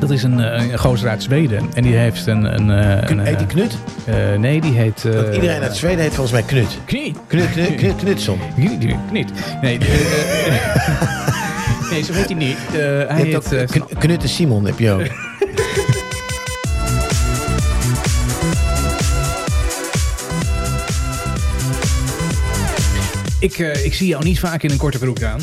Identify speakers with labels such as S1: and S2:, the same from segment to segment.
S1: Dat is een, eh, een gozer uit Zweden. En die heeft een... een, eh, een,
S2: Heet die
S1: eh,
S2: Knut?
S1: eh, nee, die heet... eh,
S2: Want iedereen uit Zweden heet volgens mij Knut.
S1: Knie.
S2: Knut, knut, knut Knutson.
S1: Niet. niet. Nee, die, eh, eh, nee, zo heet hij niet. Eh, hij
S2: Je hebt
S1: heet... eh,
S2: ook Kn- Knutte Simon heb je ook.
S1: ik, eh, ik zie jou niet vaak in een korte broek aan.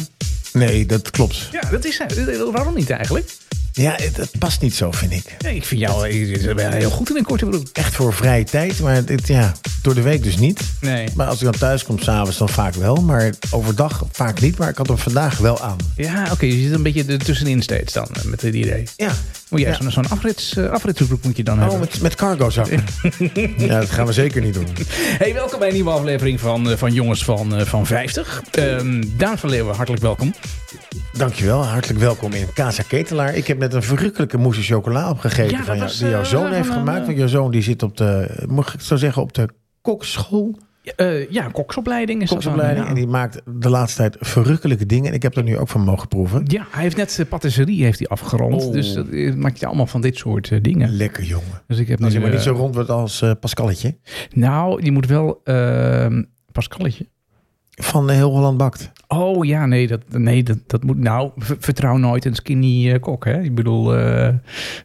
S2: Nee, dat klopt.
S1: Ja, dat is... eh, Waarom niet eigenlijk?
S2: Ja, het- dat past niet zo, vind ik.
S1: Nee, ik vind jou eh, je bent heel goed in een korte broek.
S2: Echt voor vrije tijd, maar dit, ja, door de week dus niet.
S1: Nee.
S2: Maar als ik dan thuis kom, s'avonds dan vaak wel. Maar overdag vaak niet, maar ik had hem vandaag wel aan.
S1: Ja, oké. je zit een beetje er tussenin steeds dan eh, met dit idee.
S2: Ja.
S1: Moet jij
S2: Ja.
S1: zo'n zo'n afrits, eh, afritsbroek moet je dan
S2: Oh,
S1: hebben.
S2: met, met cargo zakken. ja, dat gaan we zeker niet doen.
S1: Hey, welkom bij een nieuwe aflevering van, eh, van Jongens van, eh, van 50. Ehm Daan van Leeuwen, hartelijk welkom.
S2: Dankjewel, hartelijk welkom in Casa Ketelaar. Ik heb net een verrukkelijke mousse chocola opgegeten
S1: Ja, dat
S2: van jou,
S1: was,
S2: die jouw
S1: eh,
S2: zoon heeft
S1: van een,
S2: gemaakt.
S1: eh,
S2: Want jouw zoon die zit op de, mag ik zo zeggen, op de kokschool.
S1: Ja, eh, ja, koksopleiding is
S2: koksopleiding. En
S1: dat dan.
S2: die maakt de laatste tijd verrukkelijke dingen. En ik heb er nu ook van mogen proeven.
S1: Ja, hij heeft net de patisserie heeft hij afgerond.
S2: Oh.
S1: Dus dat eh, maakt je allemaal van dit soort eh, dingen.
S2: Lekker jongen.
S1: Dus ik heb
S2: Als je
S1: nu,
S2: maar
S1: eh,
S2: niet zo rond wordt als eh Pascalletje.
S1: Nou, die moet wel... ehm Pascalletje.
S2: Van eh, heel Holland bakt.
S1: Oh ja, nee, dat, nee, dat, dat moet... Nou, ver- vertrouw nooit een skinny eh, kok, hè. Ik bedoel, eh,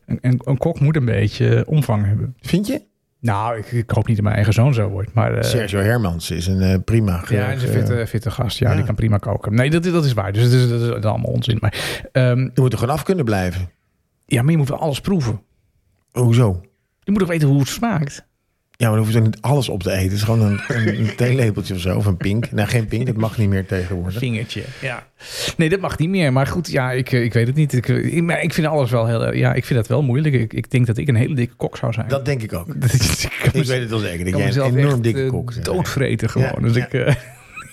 S1: een, een, een kok moet een beetje eh, omvang hebben.
S2: Vind je?
S1: Nou, ik, ik hoop niet dat mijn eigen zoon zo wordt, maar... eh,
S2: Sergio Hermans is een eh, prima. ge-
S1: ja, hij is een
S2: ge-
S1: fitte, fitte gast. Ja,
S2: Ja.
S1: die kan prima koken. Nee, dat, dat is waar. Dus dat is, dat is allemaal onzin. Maar, ehm,
S2: Je moet er gewoon af kunnen blijven.
S1: ja, maar je moet wel alles proeven.
S2: Hoezo?
S1: Je moet ook weten hoe het smaakt.
S2: Ja, maar dan hoef je toch niet alles op te eten. Het is gewoon een, een, een theelepeltje of zo. Of een pink. Nou, geen pink. Dat mag niet meer tegenwoordig.
S1: Vingertje, ja. Nee, dat mag niet meer. Maar goed, ja, ik, eh, ik weet het niet. Ik, ik, maar ik vind alles wel heel... eh, Ja, ik vind dat wel moeilijk. Ik, ik denk dat ik een hele dikke kok zou zijn.
S2: Dat denk ik ook.
S1: Dat is- ik kan
S2: Ik
S1: mez-
S2: weet het wel zeker.
S1: ik kan
S2: Dat jij een
S1: mezelf
S2: enorm
S1: echt,
S2: dikke
S1: eh,
S2: kok bent.
S1: doodvreten gewoon.
S2: Ja,
S1: dus
S2: ja.
S1: ik, eh,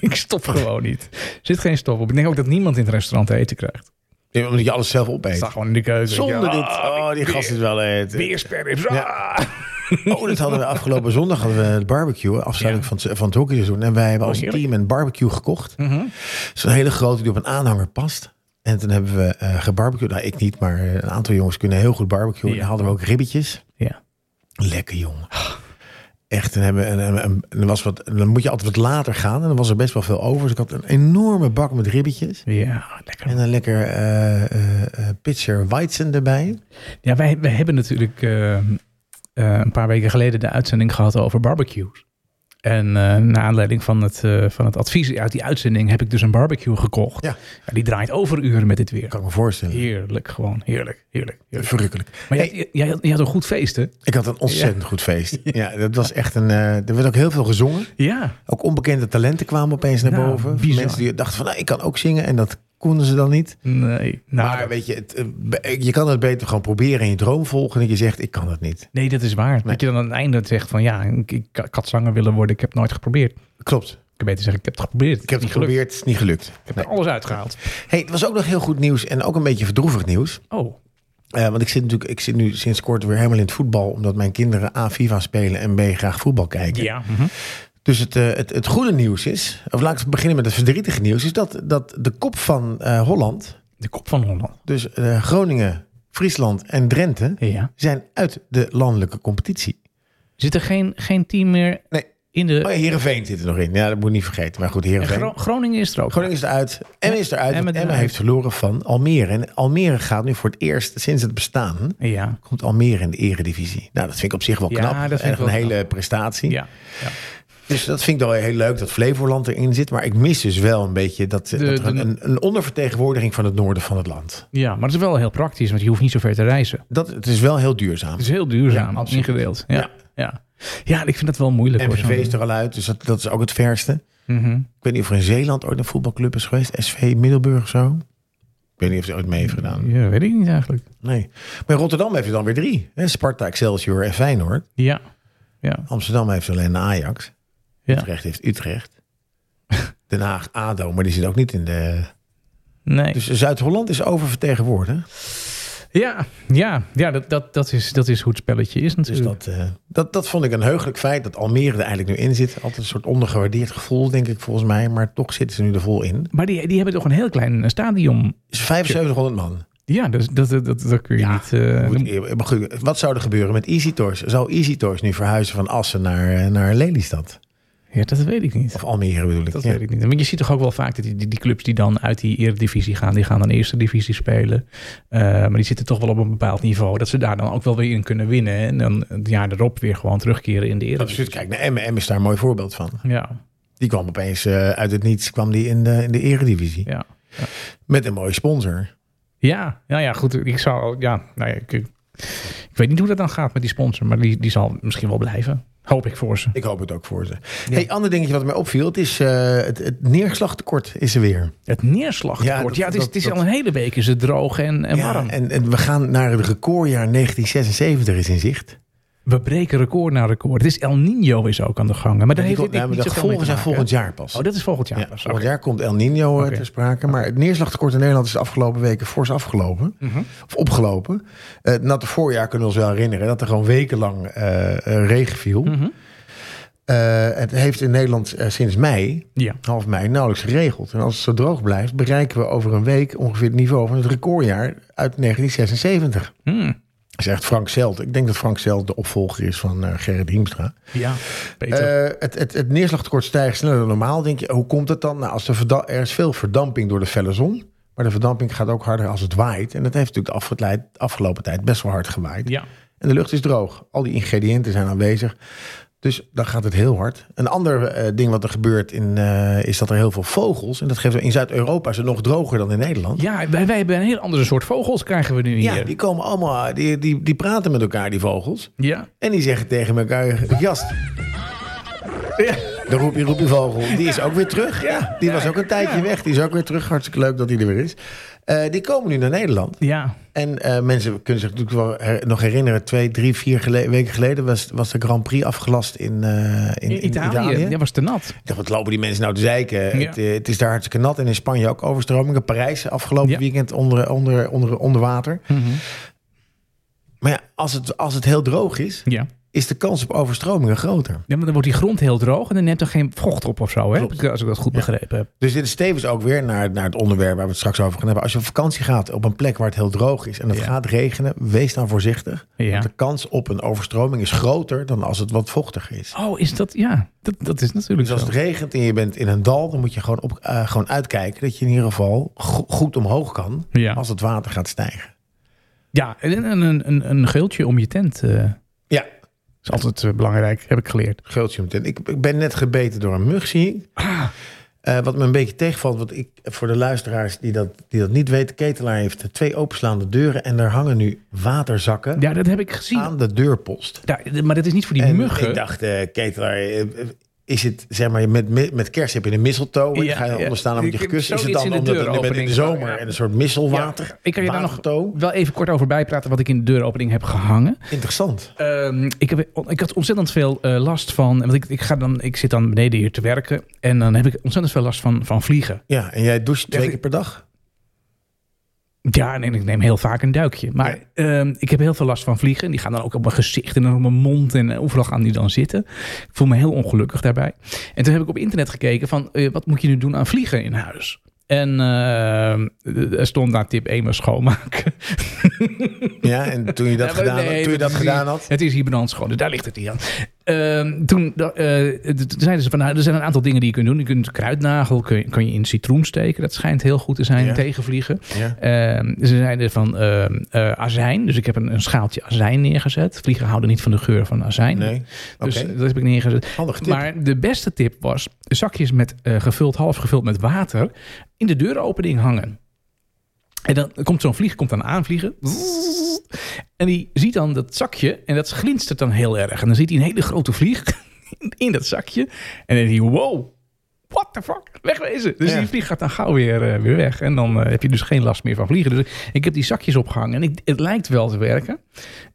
S1: ik stop gewoon niet. Er zit geen stof op. Ik denk ook dat niemand in het restaurant te eten krijgt.
S2: Ja, Omdat je alles zelf
S1: Ik sta
S2: opeet.
S1: gewoon in de keuken.
S2: Zonder
S1: Ja,
S2: dit.
S1: Ah,
S2: Oh, die gast is wel eten.
S1: Beersperrips.
S2: Ja.
S1: Ah.
S2: Oh, dat hadden we afgelopen zondag hadden we het barbecue, afsluiting
S1: Ja.
S2: van, het- van het hockeyseizoen. En wij hebben
S1: Oh,
S2: als
S1: heerlijk.
S2: team een barbecue gekocht.
S1: Mhm.
S2: Zo'n hele grote die op een aanhanger past. En toen hebben we eh gebarbecued. Nou, ik niet, maar eh, een aantal jongens kunnen heel goed barbecuen.
S1: Ja.
S2: En dan hadden we ook ribbetjes.
S1: Ja.
S2: Lekker jongen. Echt, en hebben, we een- een- een- en er was wat, en dan moet je altijd wat later gaan. En dan was er best wel veel over. Dus ik had een enorme bak met ribbetjes.
S1: Ja, lekker.
S2: En een lekker eh eh, eh, pitcher Weizen erbij.
S1: Ja, wij, wij hebben natuurlijk eh, eh, een paar weken geleden de uitzending gehad over barbecues. En eh naar aanleiding van het, eh, van het advies uit die uitzending heb ik dus een barbecue gekocht.
S2: Ja.
S1: die draait overuren met dit weer.
S2: Kan ik me voorstellen.
S1: Heerlijk, gewoon heerlijk, heerlijk. heerlijk.
S2: Verrukkelijk.
S1: Maar jij, jij, had- jij had een goed feest, hè?
S2: Ik had een ontzettend goed feest. Ja, dat was echt een. eh, er werd ook heel veel gezongen.
S1: Ja.
S2: Ook onbekende talenten kwamen opeens naar
S1: Nou,
S2: boven.
S1: bizar.
S2: Mensen die dachten van, nou, ik kan ook zingen en dat konden ze dan niet.
S1: Nee. Nou,
S2: maar weet je, het, eh, be- je kan het beter gewoon proberen en je droom volgen. En dat je zegt, ik kan het niet.
S1: nee, dat is waar. Dat je dan aan het einde zegt van ja, ik, ik, ik had zanger willen worden, ik heb het nooit geprobeerd. Ik
S2: Klopt.
S1: kan beter zeggen, ik heb het geprobeerd.
S2: Ik heb het
S1: niet gelukt.
S2: geprobeerd, het is niet gelukt.
S1: Ik heb
S2: Nee.
S1: er alles uitgehaald.
S2: Hey, het was ook nog heel goed nieuws en ook een beetje verdroevig nieuws.
S1: Oh,
S2: Eh, want ik zit natuurlijk, ik zit nu sinds kort weer helemaal in het voetbal. Omdat mijn kinderen A, FIFA spelen en B, graag voetbal kijken.
S1: ja. Mhm.
S2: Dus het, eh, het, het goede nieuws is, of laat ik beginnen met het verdrietige nieuws, is dat, dat de kop van eh, Holland,
S1: De kop van Holland.
S2: Dus eh, Groningen, Friesland en Drenthe
S1: Ja.
S2: zijn uit de landelijke competitie.
S1: Zit er geen, geen team meer
S2: Nee.
S1: in de...
S2: Oh, ja, Heerenveen zit er nog in. Ja, dat moet je niet vergeten. Maar goed, Heerenveen.
S1: Gro- Groningen is er ook.
S2: Groningen is eruit. Emmen is eruit.
S1: Emmen
S2: want Emmen
S1: eruit.
S2: heeft verloren van Almere. En Almere gaat nu voor het eerst sinds het bestaan...
S1: Ja.
S2: komt Almere in de eredivisie. Nou, dat vind ik op zich wel
S1: Ja,
S2: knap.
S1: dat vind ik
S2: Echt een
S1: wel
S2: hele prestatie.
S1: Ja. ja.
S2: Dus dat vind ik wel heel leuk dat Flevoland erin zit. Maar ik mis dus wel een beetje dat, dat er
S1: de-
S2: een, een ondervertegenwoordiging van het noorden van het land.
S1: ja, maar het is wel heel praktisch, want je hoeft niet zo ver te reizen.
S2: Dat, het is wel heel duurzaam.
S1: Het is heel duurzaam,
S2: Ja, absoluut.
S1: ingedeeld. Ja.
S2: Ja.
S1: Ja. ja. en ik vind dat wel moeilijk. hoor,
S2: MVV
S1: zo'n-
S2: is er al uit, dus dat, dat is ook het verste.
S1: Mhm.
S2: Ik weet niet of er in Zeeland ooit een voetbalclub is geweest. SV Middelburg of zo. Ik weet niet of ze ooit mee heeft gedaan.
S1: Ja, weet ik niet eigenlijk.
S2: Nee. Maar in Rotterdam heeft er dan weer drie. Hè? Sparta, Excelsior en Feyenoord.
S1: Ja. Ja.
S2: Amsterdam heeft alleen de Ajax.
S1: Ja.
S2: Utrecht heeft Utrecht. Den Haag, ADO, maar die zit ook niet in de...
S1: Nee.
S2: Dus Zuid-Holland is oververtegenwoordigd.
S1: Ja, ja, ja dat, dat, dat, is, dat is hoe het spelletje is
S2: Dus
S1: natuurlijk.
S2: dat, eh, dat, dat vond ik een heugelijk feit, dat Almere er eigenlijk nu in zit. Altijd een soort ondergewaardeerd gevoel, denk ik, volgens mij. Maar toch zitten ze nu er vol in.
S1: Maar die, die hebben toch een heel klein eh, stadion.
S2: is 7500 man.
S1: Ja, dus dat, dat, dat, dat kun je
S2: Ja,
S1: niet... eh,
S2: Moet-
S1: dan-
S2: eh, maar goed, wat zou er gebeuren met Easy Tours? Zou Easy Tours nu verhuizen van Assen naar, eh, naar Lelystad?
S1: ja, dat weet ik niet.
S2: Of Almere bedoel ik.
S1: Dat
S2: ja.
S1: weet ik niet. Want je ziet toch ook wel vaak dat die, die, die clubs die dan uit die eredivisie gaan, die gaan dan eerste divisie spelen. Eh, maar die zitten toch wel op een bepaald niveau. Dat ze daar dan ook wel weer in kunnen winnen. En dan het jaar erop weer gewoon terugkeren in de eredivisie.
S2: Absoluut. Kijk, naar Emmen. Emmen is daar een mooi voorbeeld van.
S1: Ja,
S2: Die kwam opeens eh, uit het niets kwam die in, de, in de eredivisie.
S1: ja.
S2: Met een mooie sponsor.
S1: Ja, ja, ja, goed. Ik zou, ja, nou ja, ik, ik weet niet hoe dat dan gaat met die sponsor, maar die, die zal misschien wel blijven. Hoop ik voor ze.
S2: Ik hoop het ook voor ze. Hey, ander dingetje wat mij opviel. Het, is, eh, het, het neerslagtekort is er weer.
S1: Het neerslagtekort. Ja,
S2: Ja,
S1: het
S2: dat-
S1: is,
S2: dat-
S1: het is
S2: dat-
S1: al een hele week is het droog en, en warm.
S2: en, en we gaan naar het recordjaar 1976 is in zicht.
S1: We breken record na record. Het is El Nino is ook aan de gang. hè, Maar daar heeft
S2: Die
S1: dit
S2: komt- nou,
S1: niet
S2: maar de
S1: zoveel mee
S2: gevolgen
S1: te
S2: zijn
S1: maken.
S2: volgend jaar pas.
S1: Oh, dat is volgend jaar.
S2: Ja,
S1: pas.
S2: volgend
S1: Oké.
S2: jaar komt El Nino eh,
S1: Oké.
S2: te sprake. Maar het neerslagtekort in Nederland is de afgelopen weken fors afgelopen.
S1: Mhm.
S2: Of opgelopen. Eh na het voorjaar kunnen we ons wel herinneren dat er gewoon wekenlang eh, eh, regen viel.
S1: Mhm.
S2: Eh, het heeft in Nederland eh, sinds mei,
S1: Ja.
S2: half mei, nauwelijks geregeld. En als het zo droog blijft, bereiken we over een week ongeveer het niveau van het recordjaar uit 1976.
S1: Hmm.
S2: Dat is echt Frank Zelt. Ik denk dat Frank Zelt de opvolger is van eh Gerrit Hiemstra.
S1: Ja, Peter.
S2: Eh, het, het, het neerslagtekort stijgt sneller dan normaal. Denk je, hoe komt dat dan? Nou, als de verda- er is veel verdamping door de felle zon. Maar de verdamping gaat ook harder als het waait. En dat heeft natuurlijk de afgeleid- afgelopen tijd best wel hard gewaaid.
S1: ja.
S2: En de lucht is droog. Al die ingrediënten zijn aanwezig. Dus dan gaat het heel hard. Een ander eh, ding wat er gebeurt in, eh, is dat er heel veel vogels. En dat geeft in Zuid-Europa is het nog droger dan in Nederland.
S1: ja wij, wij hebben een heel andere soort vogels krijgen we nu hier.
S2: Ja, die komen allemaal, die, die, die praten met elkaar, die vogels.
S1: ja.
S2: En die zeggen tegen elkaar, gast. Ja, dan roep je, roep je vogel. Die is ook weer terug. Ja, die was ook een tijdje weg. Die is ook weer terug. Hartstikke leuk dat hij er weer is. Eh, die komen nu naar Nederland.
S1: Ja.
S2: En eh, mensen kunnen zich natuurlijk wel her- nog herinneren... twee, drie, vier gele- weken geleden was, was de Grand Prix afgelast in, eh, in,
S1: In
S2: in
S1: Italië. Ja, was te nat.
S2: Ik dacht, wat lopen die mensen nou te zeiken?
S1: Ja.
S2: Het, eh, het is daar hartstikke nat. En in Spanje ook overstromingen. Parijs afgelopen
S1: Ja.
S2: weekend onder, onder, onder, onder water.
S1: Mhm.
S2: Maar ja, als het, als het heel droog is...
S1: Ja.
S2: is de kans op overstromingen groter.
S1: Ja, maar dan wordt die grond heel droog en dan neemt er geen vocht op of zo, hè?
S2: Klopt.
S1: Als ik dat goed begrepen heb.
S2: Dus dit is tevens ook weer naar, naar het onderwerp waar we het straks over gaan hebben. Als je op vakantie gaat op een plek waar het heel droog is en het
S1: Ja.
S2: gaat regenen, wees dan voorzichtig.
S1: Ja.
S2: Want de kans op een overstroming is groter dan als het wat vochtiger is.
S1: Oh, is dat... Ja, dat, dat is natuurlijk
S2: Dus als
S1: zo.
S2: het regent en je bent in een dal, dan moet je gewoon, op, eh, gewoon uitkijken dat je in ieder geval go- goed omhoog kan
S1: Ja.
S2: als het water gaat stijgen.
S1: Ja, en en een, een, een geeltje om je tent eh,
S2: Ja,
S1: is altijd eh, belangrijk, heb ik geleerd.
S2: geeltje meteen. Ik, ik ben net gebeten door een mug, zie ik.
S1: Ah.
S2: Eh, wat me een beetje tegenvalt, want ik, voor de luisteraars die dat, die dat niet weten, Ketelaar heeft twee openslaande deuren en daar hangen nu waterzakken.
S1: Ja, dat heb ik gezien.
S2: aan de deurpost.
S1: Ja, maar dat is niet voor die
S2: en
S1: muggen.
S2: ik dacht, eh ketelaar, eh, is het zeg maar met, met, met kerst heb je een mistletoe en
S1: Ja,
S2: dan ga je
S1: ja.
S2: onder staan dan moet je
S1: Ik heb
S2: gekust. Is het
S1: zoiets
S2: dan
S1: in de
S2: omdat het
S1: deuropening.
S2: met in de zomer
S1: Ja.
S2: en een soort misselwater?
S1: Ja, ik kan je daar nog-
S2: watertoe?
S1: Wel even kort over bijpraten wat ik in de deuropening heb gehangen.
S2: Interessant.
S1: Ehm, ik, heb, ik had ontzettend veel eh, last van. Want ik, ik, ga dan, ik zit dan beneden hier te werken. En dan heb ik ontzettend veel last van, van vliegen.
S2: Ja, en jij doucht twee
S1: ik-
S2: keer per dag?
S1: Ja, en ik neem heel vaak een duikje. Maar ehm, ik heb heel veel last van vliegen. Die gaan dan ook op mijn gezicht en op mijn mond. En eh, overal gaan die dan zitten. Ik voel me heel ongelukkig daarbij. En toen heb ik op internet gekeken van... eh, wat moet je nu doen aan vliegen in huis? En eh, er stond daar tip 1 maar schoonmaken.
S2: Ja, en toen je dat
S1: Ja, maar
S2: gedaan,
S1: nee,
S2: toen je dat
S1: is
S2: gedaan
S1: hier-
S2: had?
S1: Het is hier benand schoon, dus daar ligt het niet aan. Ehm, toen da- eh, d- d- zeiden ze van, nou, er zijn een aantal dingen die je kunt doen. Je kunt kruidnagel kun je, kun je in citroen steken. Dat schijnt heel goed te zijn
S2: Ja.
S1: tegen vliegen.
S2: Ja.
S1: Ehm, ze zeiden van ehm, eh, azijn. Dus ik heb een, een schaaltje azijn neergezet. Vliegen houden niet van de geur van azijn.
S2: Nee, oké.
S1: Dus dat heb ik neergezet.
S2: Handig tip.
S1: Maar de beste tip was zakjes met eh, gevuld, half gevuld met water in de deuropening hangen. En dan komt zo'n vlieg, komt dan aanvliegen. En die ziet dan dat zakje en dat glinstert dan heel erg. En dan ziet hij een hele grote vlieg in dat zakje. En dan denkt hij, wow, what the fuck, wegwezen. Dus
S2: Ja.
S1: die vlieg gaat dan gauw weer, eh, weer weg. En dan eh, heb je dus geen last meer van vliegen. Dus ik heb die zakjes opgehangen en ik, het lijkt wel te werken.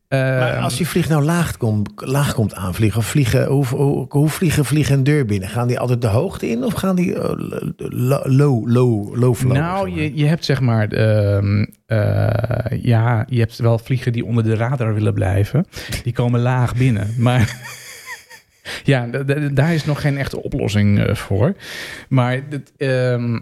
S1: Eh,
S2: Maar als die vlieg nou laag komt, laag komt aanvliegen, of vliegen, hoe, hoe, hoe vliegen vliegen een deur binnen? Gaan die altijd de hoogte in of gaan die eh, lo- low, low, low flow?
S1: Nou, je, je hebt zeg maar, ehm, eh, ja, je hebt wel vliegen die onder de radar willen blijven. Die komen laag binnen, maar ja, d- d- daar is nog geen echte oplossing eh, voor. Maar dit, ehm,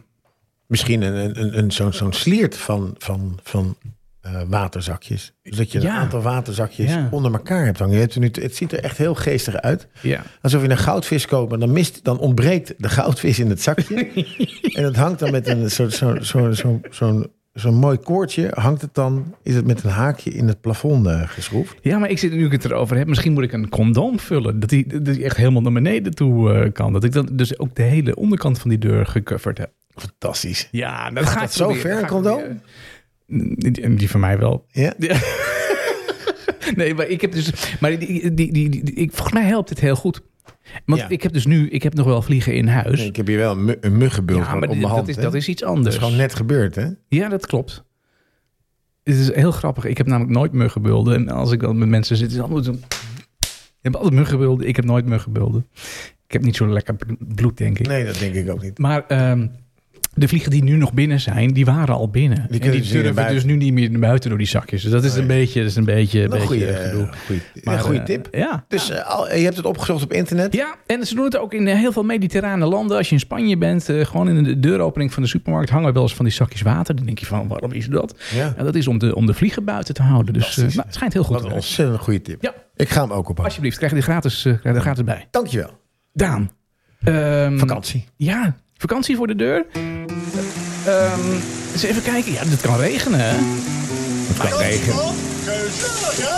S2: Misschien een, een, een, een- zo'n zo'n sliert van, van, van eh, waterzakjes. Dus dat je een
S1: Ja.
S2: aantal waterzakjes
S1: Ja.
S2: onder elkaar hebt hangen. Je hebt er nu, het ziet er echt heel geestig uit.
S1: Ja.
S2: Alsof je een goudvis koopt, maar dan, mist, dan ontbreekt de goudvis in het zakje. en dat hangt dan met een soort zo, zo, zo, zo'n zo'n mooi koordje. Hangt het dan, is het met een haakje in het plafond eh, geschroefd.
S1: ja, maar ik zit nu ik het erover heb. Misschien moet ik een condoom vullen. Dat die, dat die echt helemaal naar beneden toe eh, kan. Dat ik dan dus ook de hele onderkant van die deur gecoverd heb.
S2: Fantastisch.
S1: Ja, dat gaat
S2: dat zo ver, een condoom?
S1: Die, die van mij wel.
S2: Ja?
S1: Nee, maar ik heb dus. Maar die, die, die, die- die- ik, volgens mij helpt het heel goed. Want
S2: Ja.
S1: ik heb dus nu. Ik heb nog wel vliegen in huis.
S2: Nee, ik heb hier wel een, mu- een muggenbult
S1: Dus- ja, maar
S2: op
S1: dit-
S2: mijn hand.
S1: dat, is, dus-
S2: hè?
S1: dat is iets
S2: Dat
S1: anders.
S2: is gewoon net gebeurd, hè?
S1: Ja, dat klopt. Het is heel grappig. Ik heb namelijk nooit muggenbulden. En als ik dan met mensen zit, is het allemaal zo... Je hebt altijd muggenbulden. Ik heb nooit muggenbulden. Ik heb niet zo lekker bloed, denk ik.
S2: Nee, dat denk ik ook niet.
S1: Maar ehm, de vliegen die nu nog binnen zijn, die waren al binnen. en
S2: kunnen
S1: die
S2: dus niet naar
S1: durven dus
S2: buiten. Oh
S1: nu niet meer naar buiten door die zakjes. Dus dat is een beetje, dat is een beetje, een
S2: Een
S1: beetje
S2: goede,
S1: gedoe.
S2: een goede
S1: eh,
S2: tip.
S1: ja.
S2: Dus eh, al- je hebt het opgezocht op internet.
S1: Ja, en ze doen het ook in eh, heel veel mediterrane landen. Als je in Spanje bent, eh, gewoon in de deuropening van de supermarkt hangen wel eens van die zakjes water. Dan denk je van, waarom is dat?
S2: Ja.
S1: En dat is om de, om de vliegen buiten te houden. Dus eh, nou, het schijnt heel goed
S2: Wat
S1: te
S2: een
S1: werken.
S2: ontzettend goede tip.
S1: Ja,
S2: Ik ga hem ook oppakken.
S1: alsjeblieft, krijg je Mm. er gratis, eh, krijg je er gratis bij.
S2: Dankjewel.
S1: Daan. ehm,
S2: Vakantie.
S1: Ja, vakantie voor de deur. Ehm, eens even kijken. Ja, dit kan regenen. hè?
S2: Het kan regenen.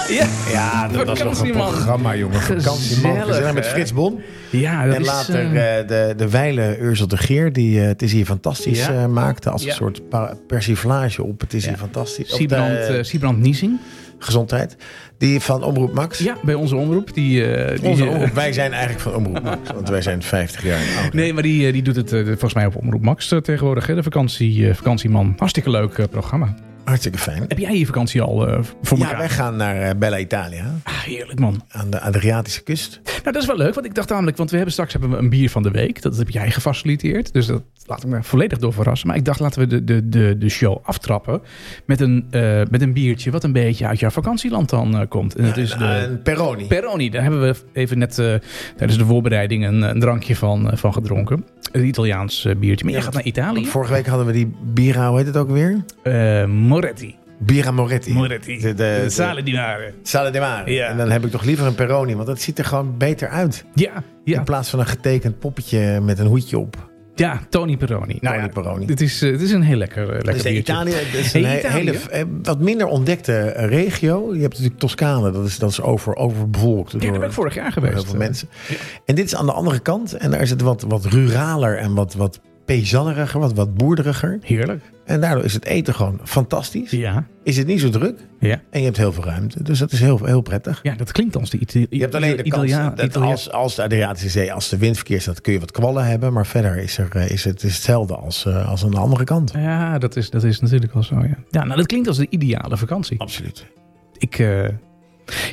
S1: Ja,
S2: Ja, dat was nog een
S1: Vakantieman.
S2: programma, jongen. Vakantieman.
S1: Gezellig,
S2: Gezellig met
S1: hè?
S2: Frits Bon.
S1: ja dat
S2: En
S1: is...
S2: later
S1: eh,
S2: eh, de, de wijle Ursel de Geer, die eh, Het is hier fantastisch
S1: Ja.
S2: eh, maakte. Als
S1: Ja.
S2: een soort pa- persiflage op Het is
S1: Ja.
S2: hier fantastisch. Op de,
S1: Siebrand, eh, Siebrand Niezing.
S2: gezondheid. Die van Omroep Max.
S1: Ja, bij onze omroep. Die, eh, die,
S2: Onze
S1: eh,
S2: omroep. Wij zijn eigenlijk van Omroep Max. Want wij zijn 50 jaar oud.
S1: Nee, maar die, eh, die doet het eh, volgens mij op Omroep Max eh, tegenwoordig. Hè? De vakantie, eh, vakantieman. Hartstikke leuk eh, programma.
S2: Hartstikke fijn.
S1: Heb jij je vakantie al eh, voor
S2: Ja,
S1: elkaar?
S2: wij gaan naar eh, Bella Italia.
S1: Ah, heerlijk man.
S2: Aan de Adriatische kust.
S1: Nou, dat is wel leuk, want ik dacht namelijk, want we hebben straks hebben we een bier van de week. Dat heb jij gefaciliteerd, dus dat laat ik me volledig door verrassen. Maar ik dacht, laten we de, de, de, de show aftrappen met een, eh, met een biertje wat een beetje uit jouw vakantieland dan eh, komt. En dat is
S2: En,
S1: de
S2: eh, Peroni.
S1: Peroni. Daar hebben we even net eh, tijdens de voorbereiding een, een drankje van, eh, van gedronken. Een Italiaans eh, biertje. Maar
S2: Ja,
S1: jij gaat naar Italië.
S2: Want vorige week hadden we die Bira, hoe heet het ook weer?
S1: Eh, Moretti.
S2: Bira Moretti.
S1: Moretti.
S2: De, de, de-
S1: Sale di Mare.
S2: Sale de Mare.
S1: Ja.
S2: En dan heb ik toch liever een Peroni, want dat ziet er gewoon beter uit.
S1: Ja, ja,
S2: In plaats van een getekend poppetje met een hoedje op.
S1: ja, Tony Peroni. Nou
S2: Tony
S1: ja,
S2: Peroni.
S1: Het is, eh, het is een heel lekker, eh, lekker
S2: Dus de
S1: biertje.
S2: Italië het is een
S1: Hey,
S2: he-
S1: Italië.
S2: hele eh, wat minder ontdekte eh, regio. Je hebt natuurlijk Toscane, dat is, dat is over, overbevolkt
S1: Ja, daar
S2: door
S1: ben ik vorig jaar
S2: door
S1: geweest. eh,
S2: heel veel mensen. En dit is aan de andere kant. En daar is het wat, wat ruraler en wat, wat peezanneriger, wat, wat boerderiger.
S1: Heerlijk.
S2: En daardoor is het eten gewoon fantastisch.
S1: Ja.
S2: Is het niet zo druk
S1: Ja.
S2: en je hebt heel veel ruimte. Dus dat is heel, heel prettig.
S1: ja, dat klinkt als de Italië.
S2: Je hebt alleen de kans dat als, als de Adriatische Zee, als de windverkeer staat, kun je wat kwallen hebben. Maar verder is, er, eh, is het is hetzelfde als, eh, als aan de andere kant.
S1: Ja, dat is, dat is natuurlijk wel zo, ja. Ja, nou, dat klinkt als de ideale vakantie.
S2: Absoluut.
S1: Ik, eh,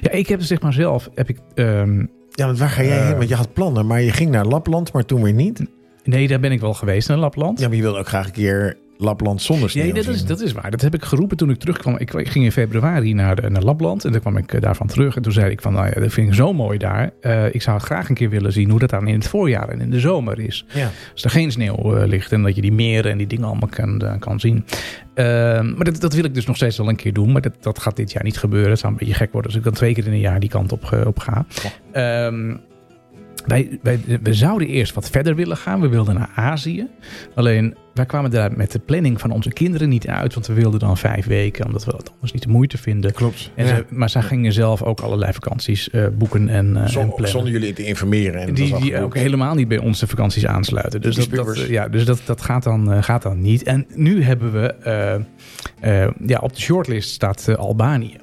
S1: ja, ik heb zeg maar zelf, heb ik, ehm,
S2: Ja, want waar ga jij
S1: Eh.
S2: heen? Want je had plannen, maar je ging naar Lapland, maar toen weer niet.
S1: nee, daar ben ik wel geweest naar Lapland.
S2: Ja, maar je wilde ook graag een keer Lapland zonder sneeuw
S1: Nee, dat is,
S2: zien.
S1: dat is waar. Dat heb ik geroepen toen ik terugkwam. Ik, ik ging in februari naar, eh, naar Lapland en toen kwam ik eh, daarvan terug. En toen zei ik van, nou ja, dat vind ik zo mooi daar. Eh, ik zou graag een keer willen zien hoe dat dan in het voorjaar en in de zomer is.
S2: Ja.
S1: Als er geen sneeuw eh, ligt en dat je die meren en die dingen allemaal kan, eh, kan zien. Ehm, maar dat, dat wil ik dus nog steeds wel een keer doen. Maar dat, dat gaat dit jaar niet gebeuren. Het zou een beetje gek worden als ik dan twee keer in een jaar die kant op, ge- op ga. Ehm, wij, wij, we zouden eerst wat verder willen gaan. We wilden naar Azië. Alleen wij kwamen daar met de planning van onze kinderen niet uit. Want we wilden dan vijf weken, omdat we dat anders niet de moeite vinden.
S2: Klopt.
S1: En
S2: Ja.
S1: ze- maar zij gingen zelf ook allerlei vakanties eh, boeken en, eh, en
S2: Zon-
S1: plannen
S2: zonder jullie te informeren. En dat
S1: die,
S2: was
S1: die ook helemaal niet bij onze vakanties aansluiten. Dus,
S2: Die
S1: dat, dat,
S2: spuwers.
S1: ja, dus dat, dat gaat, dan, eh, gaat dan niet. En nu hebben we... eh, eh, ja, op de shortlist staat eh, Albanië.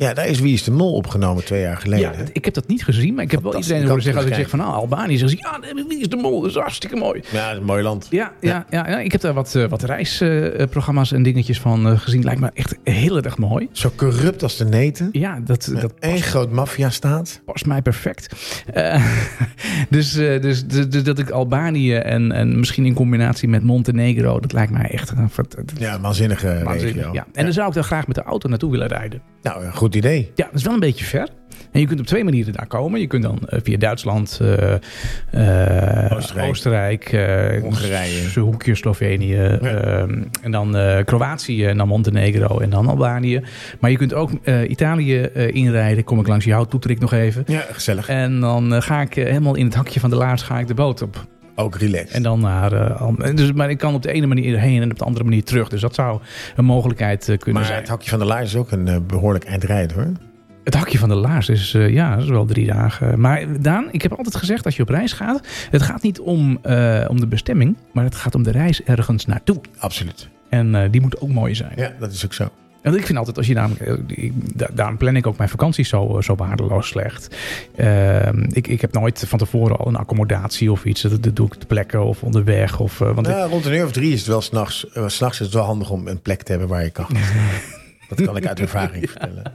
S2: Ja, daar is Wie is de Mol opgenomen twee jaar geleden.
S1: Ja,
S2: hè?
S1: ik heb dat niet gezien, maar ik heb wel
S2: Fantastisch,
S1: iedereen horen
S2: kan
S1: zeggen... als ik
S2: ik
S1: zeg van nou, Albanië, zeggen ze... ja, nee, wie is de mol? Dat is hartstikke mooi.
S2: ja, dat is een mooi land.
S1: Ja, ja, ja, ja, ik heb daar wat, eh, wat reisprogramma's en dingetjes van eh, gezien. Lijkt me echt heel erg mooi.
S2: Zo corrupt als de neten.
S1: Ja, dat, dat
S2: Eén groot maffiastaat.
S1: past mij perfect. Eh, dus, eh, dus, dus, dus dat ik Albanië en, en misschien in combinatie met Montenegro, dat lijkt mij echt een fant-
S2: Ja, een waanzinnige
S1: waanzinnig,
S2: regio.
S1: Ja. En dan zou ik daar graag met de auto naartoe willen rijden.
S2: Nou, een goed idee.
S1: Ja, dat is wel een beetje ver. En je kunt op twee manieren daar komen. Je kunt dan eh, via Duitsland, eh, eh,
S2: Oostenrijk.
S1: Oostenrijk, eh,
S2: Hongarije.
S1: S- hoekje Slovenië ehm, en dan eh, Kroatië en dan Montenegro en dan Albanië. Maar je kunt ook eh, Italië eh, inrijden. Kom ik langs jou, toeter ik nog even.
S2: Ja, gezellig.
S1: En dan eh, ga ik eh, helemaal in het hakje van de laars ga ik de boot op.
S2: Ook relaxed.
S1: En dan naar. eh, Am- en dus, maar ik kan op de ene manier heen en op de andere manier terug. Dus dat zou een mogelijkheid eh, kunnen
S2: maar
S1: zijn.
S2: dus het hakje van de laars is ook een eh, behoorlijk eindrijd hoor.
S1: Het hakje van de laars is, eh, ja, dat is wel drie dagen. Maar Daan, ik heb altijd gezegd als je op reis gaat, het gaat niet om, eh, om de bestemming, maar het gaat om de reis ergens naartoe.
S2: Absoluut.
S1: En eh, die moet ook mooi zijn.
S2: Ja, dat is ook zo.
S1: En ik vind altijd, als je namelijk, eh, ik- da- daarom plan ik ook mijn vakanties zo, eh, zo waardeloos slecht. Ehm, ik, ik heb nooit van tevoren al een accommodatie of iets. Dat, dat doe ik te plekken of onderweg. Of, eh, want ik-
S2: Nou, rond een uur of drie is het wel s'nachts. nachts s'nachts is het wel handig om een plek te hebben waar je kan gaan slapen. Dat kan ik uit ervaring vertellen.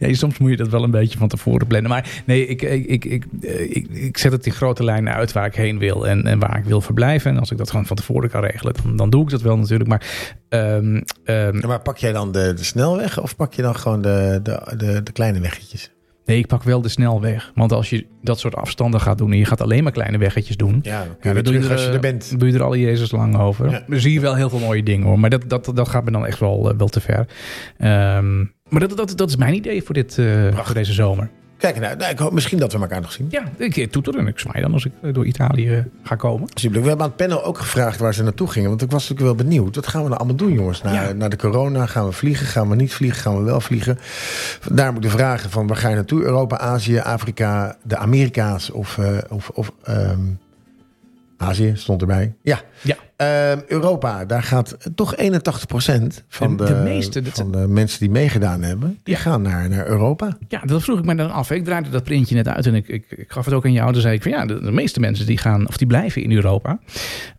S1: Nee, soms moet je dat wel een beetje van tevoren plannen. Maar nee, ik, ik, ik, ik, eh, ik, ik zet het in grote lijnen uit waar ik heen wil en, en waar ik wil verblijven. En als ik dat gewoon van tevoren kan regelen, dan, dan doe ik dat wel natuurlijk. Maar ehm, ehm,
S2: Ja, Maar pak jij dan de, de snelweg of pak je dan gewoon de, de, de, de kleine weggetjes?
S1: nee, ik pak wel de snelweg. Want als je dat soort afstanden gaat doen en je gaat alleen maar kleine weggetjes doen.
S2: Ja, dan kun
S1: Ja,
S2: je
S1: dan
S2: weer
S1: doe je,
S2: terug
S1: er,
S2: als je er eh, bent.
S1: doe je er alle Jezus lang over.
S2: Ja.
S1: Dan zie je wel heel veel mooie dingen hoor. Maar dat, dat, dat gaat me dan echt wel, eh, wel te ver. Ehm, maar dat, dat, dat is mijn idee voor, dit, eh, voor deze zomer.
S2: Kijk, nou, nou, ik hoop misschien dat we elkaar nog zien.
S1: Ja, ik eh, toeter en ik zwaai dan als ik eh, door Italië ga komen.
S2: Alsjeblieft. We hebben aan het panel ook gevraagd waar ze naartoe gingen. Want ik was natuurlijk wel benieuwd. Wat gaan we nou allemaal doen, jongens? Naar,
S1: Ja.
S2: naar de corona gaan we vliegen? Gaan we niet vliegen? Gaan we wel vliegen? Daar moet de vragen van waar ga je naartoe? Europa, Azië, Afrika, de Amerika's of... eh, of, of ehm, Azië stond erbij. Ja.
S1: Ja.
S2: Ehm, Europa, daar gaat toch 81% van
S1: De-
S2: de,
S1: de meeste, dat
S2: van de mensen die meegedaan hebben, die
S1: Ja.
S2: gaan naar, naar Europa.
S1: Ja, dat vroeg ik mij dan af. Ik draaide dat printje net uit en ik, ik, ik gaf het ook aan jou. Dan zei ik van ja, de, de meeste mensen die gaan of die blijven in Europa.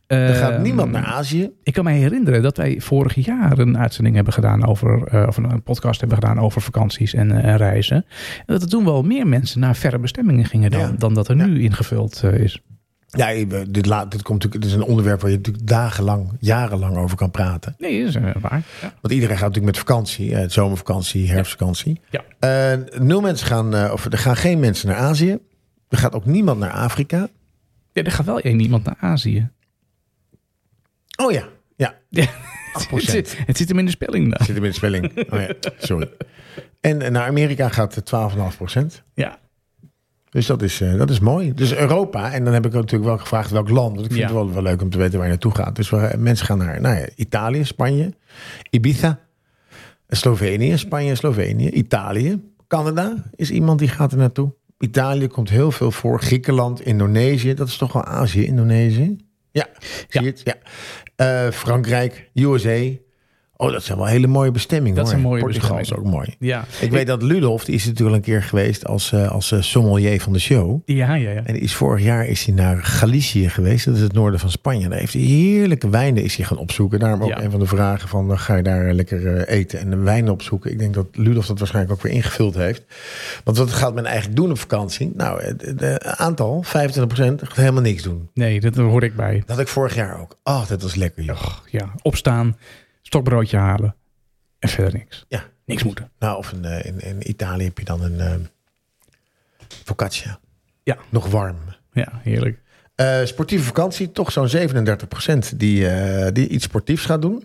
S2: Er
S1: Eh,
S2: gaat niemand naar Azië.
S1: Ik kan me herinneren dat wij vorig jaar een uitzending hebben gedaan over, eh, of een, een podcast hebben gedaan over vakanties en, eh, en reizen. En dat er toen wel meer mensen naar verre bestemmingen gingen dan,
S2: Ja.
S1: dan dat er nu ingevuld eh, is.
S2: Ja, dit, la- dit, komt natuurlijk, dit is een onderwerp waar je natuurlijk dagenlang, jarenlang over kan praten.
S1: Nee, dat is eh, waar. Ja.
S2: Want iedereen gaat natuurlijk met vakantie, eh, zomervakantie, herfstvakantie.
S1: Ja.
S2: Eh, nul mensen gaan, eh, of er gaan geen mensen naar Azië. Er gaat ook niemand naar Afrika.
S1: Ja, er gaat wel één iemand naar Azië.
S2: Oh ja, ja.
S1: Ja.
S2: 8
S1: Het
S2: procent.
S1: zit, het zit hem in de spelling dan.
S2: Zit hem in de spelling. Oh ja, sorry. En eh, naar Amerika gaat eh, 12,5 procent.
S1: Ja.
S2: Dus dat is, eh, dat is mooi. Dus Europa, en dan heb ik ook natuurlijk wel gevraagd welk land. Want ik vind
S1: Ja.
S2: het wel, wel leuk om te weten waar je naartoe gaat. Dus we- mensen gaan naar nou ja, Italië, Spanje, Ibiza, eh, Slovenië, Spanje, Slovenië, Italië, Canada is iemand die gaat er naartoe. Italië komt heel veel voor. Griekenland, Indonesië, dat is toch wel Azië, Indonesië? Ja,
S1: Ja.
S2: zie je het? Ja. Eh, Frankrijk, USA. Oh, dat zijn wel hele mooie bestemmingen.
S1: Dat
S2: hoor.
S1: zijn mooie
S2: Portugal is ook
S1: bestemmingen.
S2: mooi.
S1: Ja.
S2: Ik weet dat Ludolf, die is natuurlijk al een keer geweest als, eh, als eh, sommelier van de show.
S1: Ja, ja, ja.
S2: En die is vorig jaar is hij naar Galicië geweest. Dat is het noorden van Spanje. Daar heeft hij heerlijke wijnen is hij gaan opzoeken. Daarom ook
S1: Ja.
S2: een van de vragen van eh, ga je daar lekker eh, eten en wijnen opzoeken. Ik denk dat Ludolf dat waarschijnlijk ook weer ingevuld heeft. Want wat gaat men eigenlijk doen op vakantie? Nou, het het aantal, 25% gaat helemaal niks doen.
S1: Nee, dat hoor ik bij.
S2: Dat had ik vorig jaar ook. Oh, dat was lekker joh.
S1: Ja, opstaan, stokbroodje halen en verder niks.
S2: Ja.
S1: Niks moeten.
S2: Nou, of een, eh, in, in Italië heb je dan een eh focaccia.
S1: Ja.
S2: Nog warm.
S1: Ja, heerlijk.
S2: Eh, sportieve vakantie, toch zo'n 37% die, eh, die iets sportiefs gaat doen.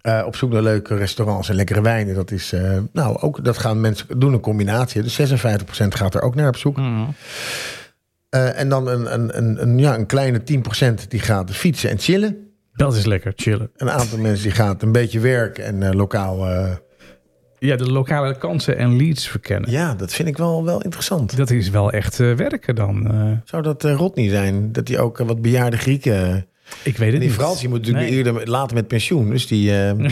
S2: Eh, op zoek naar leuke restaurants en lekkere wijnen. Dat is, eh, nou, ook dat gaan mensen doen, een combinatie. Dus 56% gaat er ook naar op zoek.
S1: Mm.
S2: Eh, en dan een, een, een, een, ja, een kleine 10% die gaat fietsen en chillen.
S1: Dat is lekker, chillen.
S2: Een aantal mensen die gaat een beetje werken en eh, lokaal. eh,
S1: Ja, de lokale kansen en leads verkennen.
S2: ja, dat vind ik wel, wel interessant.
S1: Dat is wel echt eh, werken dan. eh.
S2: Zou dat eh, rot niet zijn? Dat die ook eh, wat bejaarde Grieken.
S1: ik weet het
S2: die
S1: niet.
S2: Fransie moet natuurlijk
S1: Nee.
S2: eerder, later met pensioen. Dus die. eh,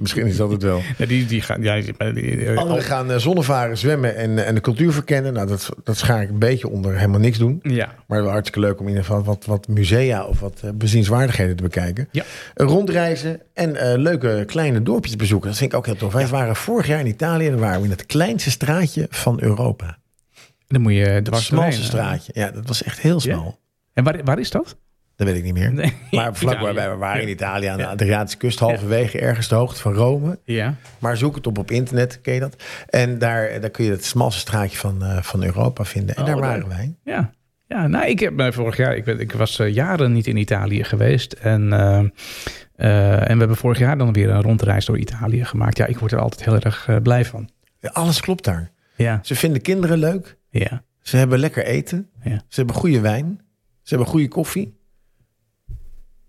S2: misschien is dat het wel.
S1: Ja, die, die gaan, ja, die- maar die- eh,
S2: Anderen gaan eh, zonnevaren, zwemmen en, eh, en de cultuur verkennen. Nou, dat, dat schaar ik een beetje onder helemaal niks doen.
S1: ja.
S2: Maar wel hartstikke leuk om in ieder geval wat, wat musea of wat eh, bezienswaardigheden te bekijken.
S1: Ja.
S2: Eh, Rondreizen en eh, leuke kleine dorpjes bezoeken. Dat vind ik ook heel tof. Wij waren vorig jaar in Italië en dan waren we in het kleinste straatje van Europa.
S1: Dan moet je dwars
S2: Het smalste
S1: doorheen, eh.
S2: straatje. Ja, dat was echt heel smal.
S1: En waar, waar is dat?
S2: Dat Dat weet ik niet meer.
S1: Nee.
S2: Maar vlak
S1: Italië.
S2: waarbij we waren in Italië aan de Adriatische kust, halverwege ergens de hoogte van Rome.
S1: Ja.
S2: Maar zoek het op op internet, ken je dat? En daar, daar kun je het smalste straatje van, eh, van Europa vinden. En
S1: Oh,
S2: daar
S1: leuk.
S2: waren wij.
S1: Ja. Ja, nou, ik heb mij vorig jaar, ik, ben, ik was eh, jaren niet in Italië geweest. En, eh, eh, en we hebben vorig jaar dan weer een rondreis door Italië gemaakt. Ja, ik word er altijd heel erg eh, blij van.
S2: Ja, Alles klopt daar.
S1: Ja,
S2: Ze vinden kinderen leuk.
S1: ja.
S2: Ze hebben lekker eten.
S1: Ja.
S2: Ze hebben goede wijn. Ze hebben goede koffie.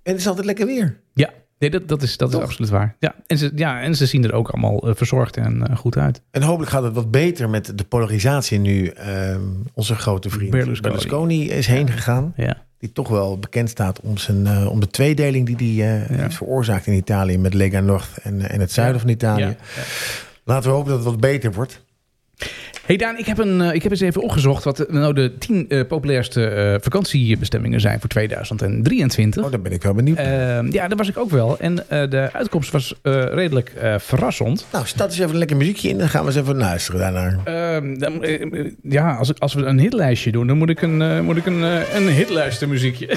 S2: En het is altijd lekker weer.
S1: Ja, nee, dat, dat, is, dat is
S2: Toch?
S1: absoluut waar. Ja. En, ze, ja, en ze zien er ook allemaal eh, verzorgd en eh, goed uit.
S2: En hopelijk gaat het wat beter met de polarisatie nu. Ehm, onze grote vriend
S1: Berlusconi.
S2: Berlusconi is heen gegaan.
S1: Ja,
S2: Die toch wel bekend staat om, zijn, eh, om de tweedeling die, die hij
S1: Ja.
S2: heeft veroorzaakt in Italië. Met Lega Nord en, eh, en het zuiden van Italië.
S1: ja.
S2: Laten we hopen dat het wat beter wordt.
S1: Hey Daan, ik heb, een, eh, ik heb eens even opgezocht wat de- nou de tien eh, populairste eh, vakantiebestemmingen zijn voor 2023.
S2: Oh, daar ben ik wel benieuwd.
S1: Ehm, ja, daar was ik ook wel. En eh, de uitkomst was eh, redelijk eh, verrassend.
S2: nou, start eens even een lekker muziekje in. Dan gaan we eens even luisteren daarnaar.
S1: Ehm, dan, eh, eh, ja, als, ik- als we een hitlijstje doen, dan moet ik een, eh, moet ik een, eh, een hitlijstenmuziekje.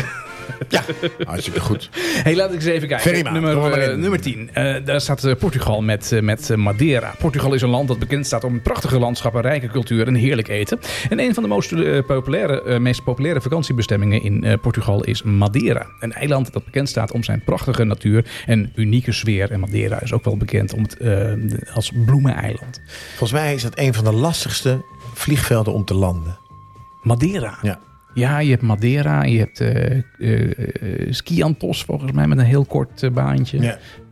S2: Ja, hartstikke goed.
S1: hey, laat ik eens even kijken.
S2: Verima, doe maar
S1: nummer,
S2: maar
S1: eh,
S2: in.
S1: nummer 10. Eh, daar staat eh, Portugal met, eh, met eh, Madeira. Portugal is een land dat bekend staat om prachtige landschappen, rijke cultuur en heerlijk eten. En een van de most, eh, populaire, eh, meest populaire vakantiebestemmingen in eh, Portugal is Madeira. Een eiland dat bekend staat om zijn prachtige natuur en unieke sfeer. En Madeira is ook wel bekend om het, eh, als bloemeneiland.
S2: Volgens mij is dat een van de lastigste vliegvelden om te landen.
S1: Madeira.
S2: Ja.
S1: Ja, je hebt Madeira, je hebt eh eh, eh, Skiantos volgens mij met een heel kort eh, baantje.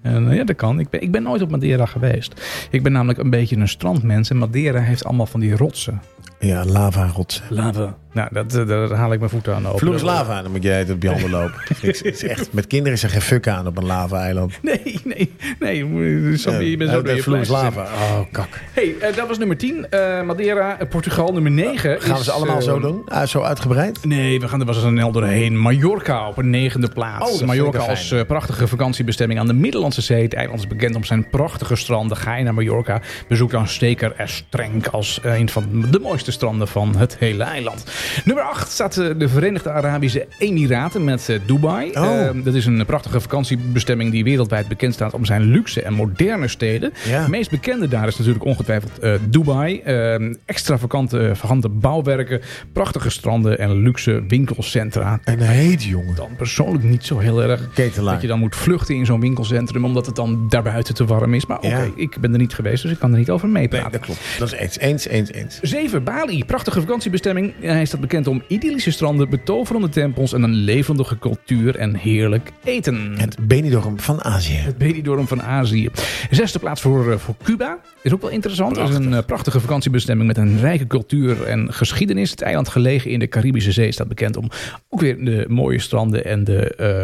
S1: En, eh, ja, dat kan. Ik ben, ik ben nooit op Madeira geweest. Ik ben namelijk een beetje een strandmens en Madeira heeft allemaal van die rotsen.
S2: Ja, lava rotsen.
S1: Lava. Nou, dat, eh, daar haal ik mijn voeten aan over.
S2: Vloers lava, dan moet jij op je handen lopen. Niks. Het is echt, met kinderen is er geen fuck aan op een lava-eiland.
S1: Nee, nee, nee. Zo, je
S2: eh,
S1: bent zo door je
S2: vloers
S1: plaatjes
S2: lava. Oh, kak.
S1: heen. hey, eh, dat was nummer 10. eh, Madeira, eh, Portugal. Nummer eh, 9
S2: Gaan we ze allemaal zo
S1: doen?
S2: doen? Ah, zo uitgebreid?
S1: Nee, we gaan er wel eens snel doorheen. Mallorca op een negende
S2: Oh, dat
S1: plaats.
S2: vind
S1: Mallorca
S2: ik wel
S1: als eh, prachtige vakantiebestemming aan de Middellandse Zee. Het eiland is bekend om zijn prachtige stranden. Ga je naar Mallorca, bezoek dan Steker en Strenk als eh, een van de mooiste stranden van het hele eiland. Nummer 8 staat eh, de Verenigde Arabische Emiraten met eh, Dubai.
S2: Oh.
S1: Eh, dat is een prachtige vakantiebestemming die wereldwijd bekend staat om zijn luxe en moderne steden.
S2: Ja.
S1: Het meest bekende daar is natuurlijk ongetwijfeld eh, Dubai. Ehm extra vakante, vakante bouwwerken, prachtige stranden en luxe winkelcentra.
S2: En heet, jongen.
S1: Dan persoonlijk niet zo heel erg dat je
S2: Ketelaar.
S1: dan moet vluchten in zo'n winkelcentrum omdat het dan daarbuiten te warm is. Maar oké,
S2: Ja.
S1: ik ben er niet geweest, dus ik kan er niet over meepraten.
S2: Nee, dat klopt. Dat is eens, eens, eens, eens.
S1: 7. Bali. Prachtige vakantiebestemming. Hij staat bekend om idyllische stranden, betoverende tempels en een levendige cultuur en heerlijk eten.
S2: Het Benidorm van Azië.
S1: Het Benidorm van Azië. Zesde plaats voor, eh, voor Cuba. Is ook wel interessant. Het is een eh, prachtige vakantiebestemming met een rijke cultuur en geschiedenis. Het eiland gelegen in de Caribische Zee staat bekend om ook weer de mooie stranden en de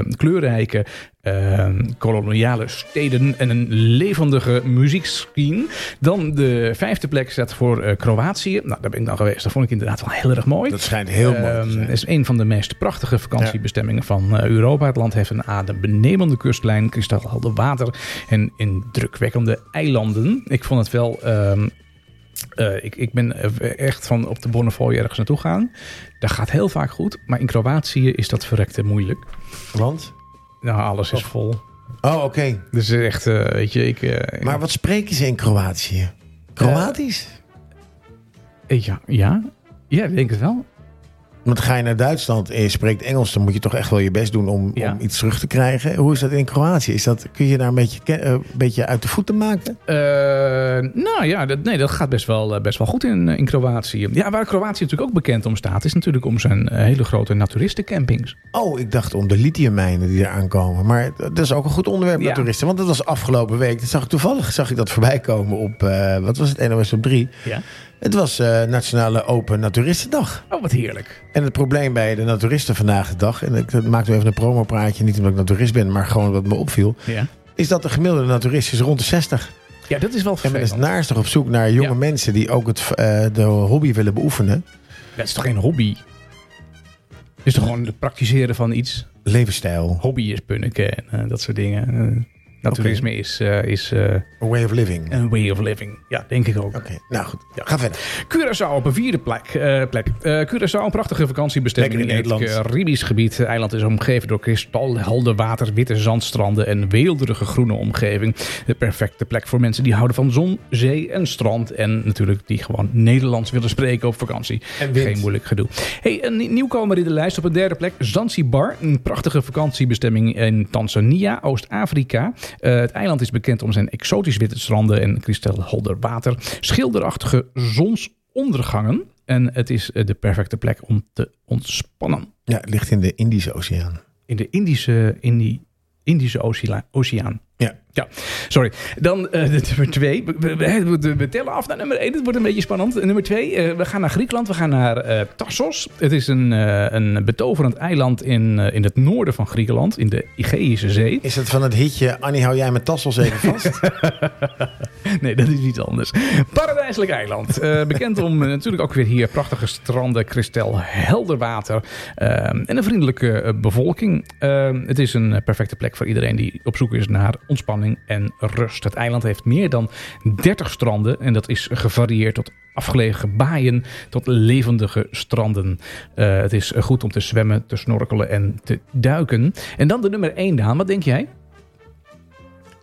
S1: eh, kleurrijke eh, koloniale steden en een levendige muziekschien. Dan de vijfde plek staat voor eh, Kroatië. Nou, daar ben ik dan geweest. Dat vond ik inderdaad wel heel erg mooi.
S2: Dat schijnt heel mooi te
S1: Ehm,
S2: zijn.
S1: is een van de meest prachtige vakantiebestemmingen van eh, Europa. Het land heeft een adembenemende kustlijn, kristalhelder water en indrukwekkende eilanden. Ik vond het wel. ehm, eh, ik, ik ben eh, echt van op de Bonnefoy ergens naartoe gaan. Dat gaat heel vaak goed, maar in Kroatië is dat verrekte moeilijk.
S2: Want?
S1: Nou, alles is vol.
S2: Oh, oké.
S1: Dus echt, eh, weet je, ik. eh,
S2: Maar wat spreken ze in Kroatië? Kroatisch?
S1: eh, ja, ja, ja, ik denk het wel.
S2: Want ga je naar Duitsland en je spreekt Engels, dan moet je toch echt wel je best doen om,
S1: Ja.
S2: om iets terug te krijgen. Hoe is dat in Kroatië? Is dat, kun je daar een beetje, ke- eh, een beetje uit de voeten maken?
S1: Eh, nou ja, dat, nee, dat gaat best wel, eh, best wel goed in, eh, in Kroatië. Ja, waar Kroatië natuurlijk ook bekend om staat, is natuurlijk om zijn eh, hele grote naturistencampings.
S2: Oh, ik dacht om de lithiummijnen die daar aankomen. Maar dat is ook een goed onderwerp naar
S1: Ja.
S2: toeristen. Want dat was afgelopen week. Dat zag ik toevallig zag ik dat voorbij komen op, eh, wat was het, NOS op 3.
S1: Ja.
S2: Het was eh, Nationale Open Naturistendag.
S1: Oh, wat heerlijk.
S2: En het probleem bij de naturisten vandaag de dag... en ik maak nu even een promopraatje, niet omdat ik naturist ben... maar gewoon wat me opviel...
S1: Ja,
S2: is dat de gemiddelde naturist is rond de 60.
S1: ja dat is wel
S2: En men is
S1: vervelend.
S2: naastig op zoek naar jonge
S1: Ja.
S2: mensen die ook het, eh, de hobby willen beoefenen.
S1: Dat is toch geen hobby? Het is toch gewoon het praktiseren van iets?
S2: Levensstijl.
S1: Hobby is punniken en eh, dat soort dingen. Eh, Naturisme is, eh, is eh,
S2: A way of living.
S1: een way of living. Ja, denk ik ook.
S2: Oké, nou goed. Ga verder.
S1: Curaçao op een vierde plek. eh, plek. Eh, Curaçao, een prachtige vakantiebestemming
S2: Lekker in
S1: het eh,
S2: Nederland.
S1: Caribisch gebied. Het eiland is omgeven door kristalhelder water, witte zandstranden en weelderige groene omgeving. De perfecte plek voor mensen die houden van zon, zee en strand. En natuurlijk die gewoon Nederlands willen spreken op vakantie.
S2: En wind.
S1: Geen moeilijk gedoe. Hey, een nieuwkomer in de lijst op een derde plek. Zanzibar, een prachtige vakantiebestemming in Tanzania, Oost-Afrika. Eh, het eiland is bekend om zijn exotisch witte stranden en kristalhelder water. Schilderachtige zonsondergangen. En het is eh, de perfecte plek om te ontspannen.
S2: Ja, het ligt in de Indische Oceaan.
S1: In de Indische, Indi- Indische Ocea- Oceaan.
S2: Ja.
S1: Ja, sorry. Dan eh, de nummer twee. We, we- we- we- we tellen af naar nummer één. Het wordt een beetje spannend. Eh, Nummer twee, eh, we gaan naar Griekenland. We gaan naar eh, Tassos. Het is een, eh, een betoverend eiland in, eh, in het noorden van Griekenland. In de Egeïsche Zee.
S2: Is dat van het hitje Annie, hou jij mijn tassels even vast?
S1: Nee, dat is iets anders. Paradijselijk eiland. Eh, bekend om eh, natuurlijk ook weer hier prachtige stranden, kristal, helder water eh, en een vriendelijke eh, bevolking. Eh, het is een eh, perfecte plek voor iedereen die op zoek is naar ontspanning en rust. Het eiland heeft meer dan 30 stranden en dat is gevarieerd tot afgelegen baaien tot levendige stranden. Eh, het is eh, goed om te zwemmen, te snorkelen en te duiken. En dan de nummer 1, Daan. Wat denk jij?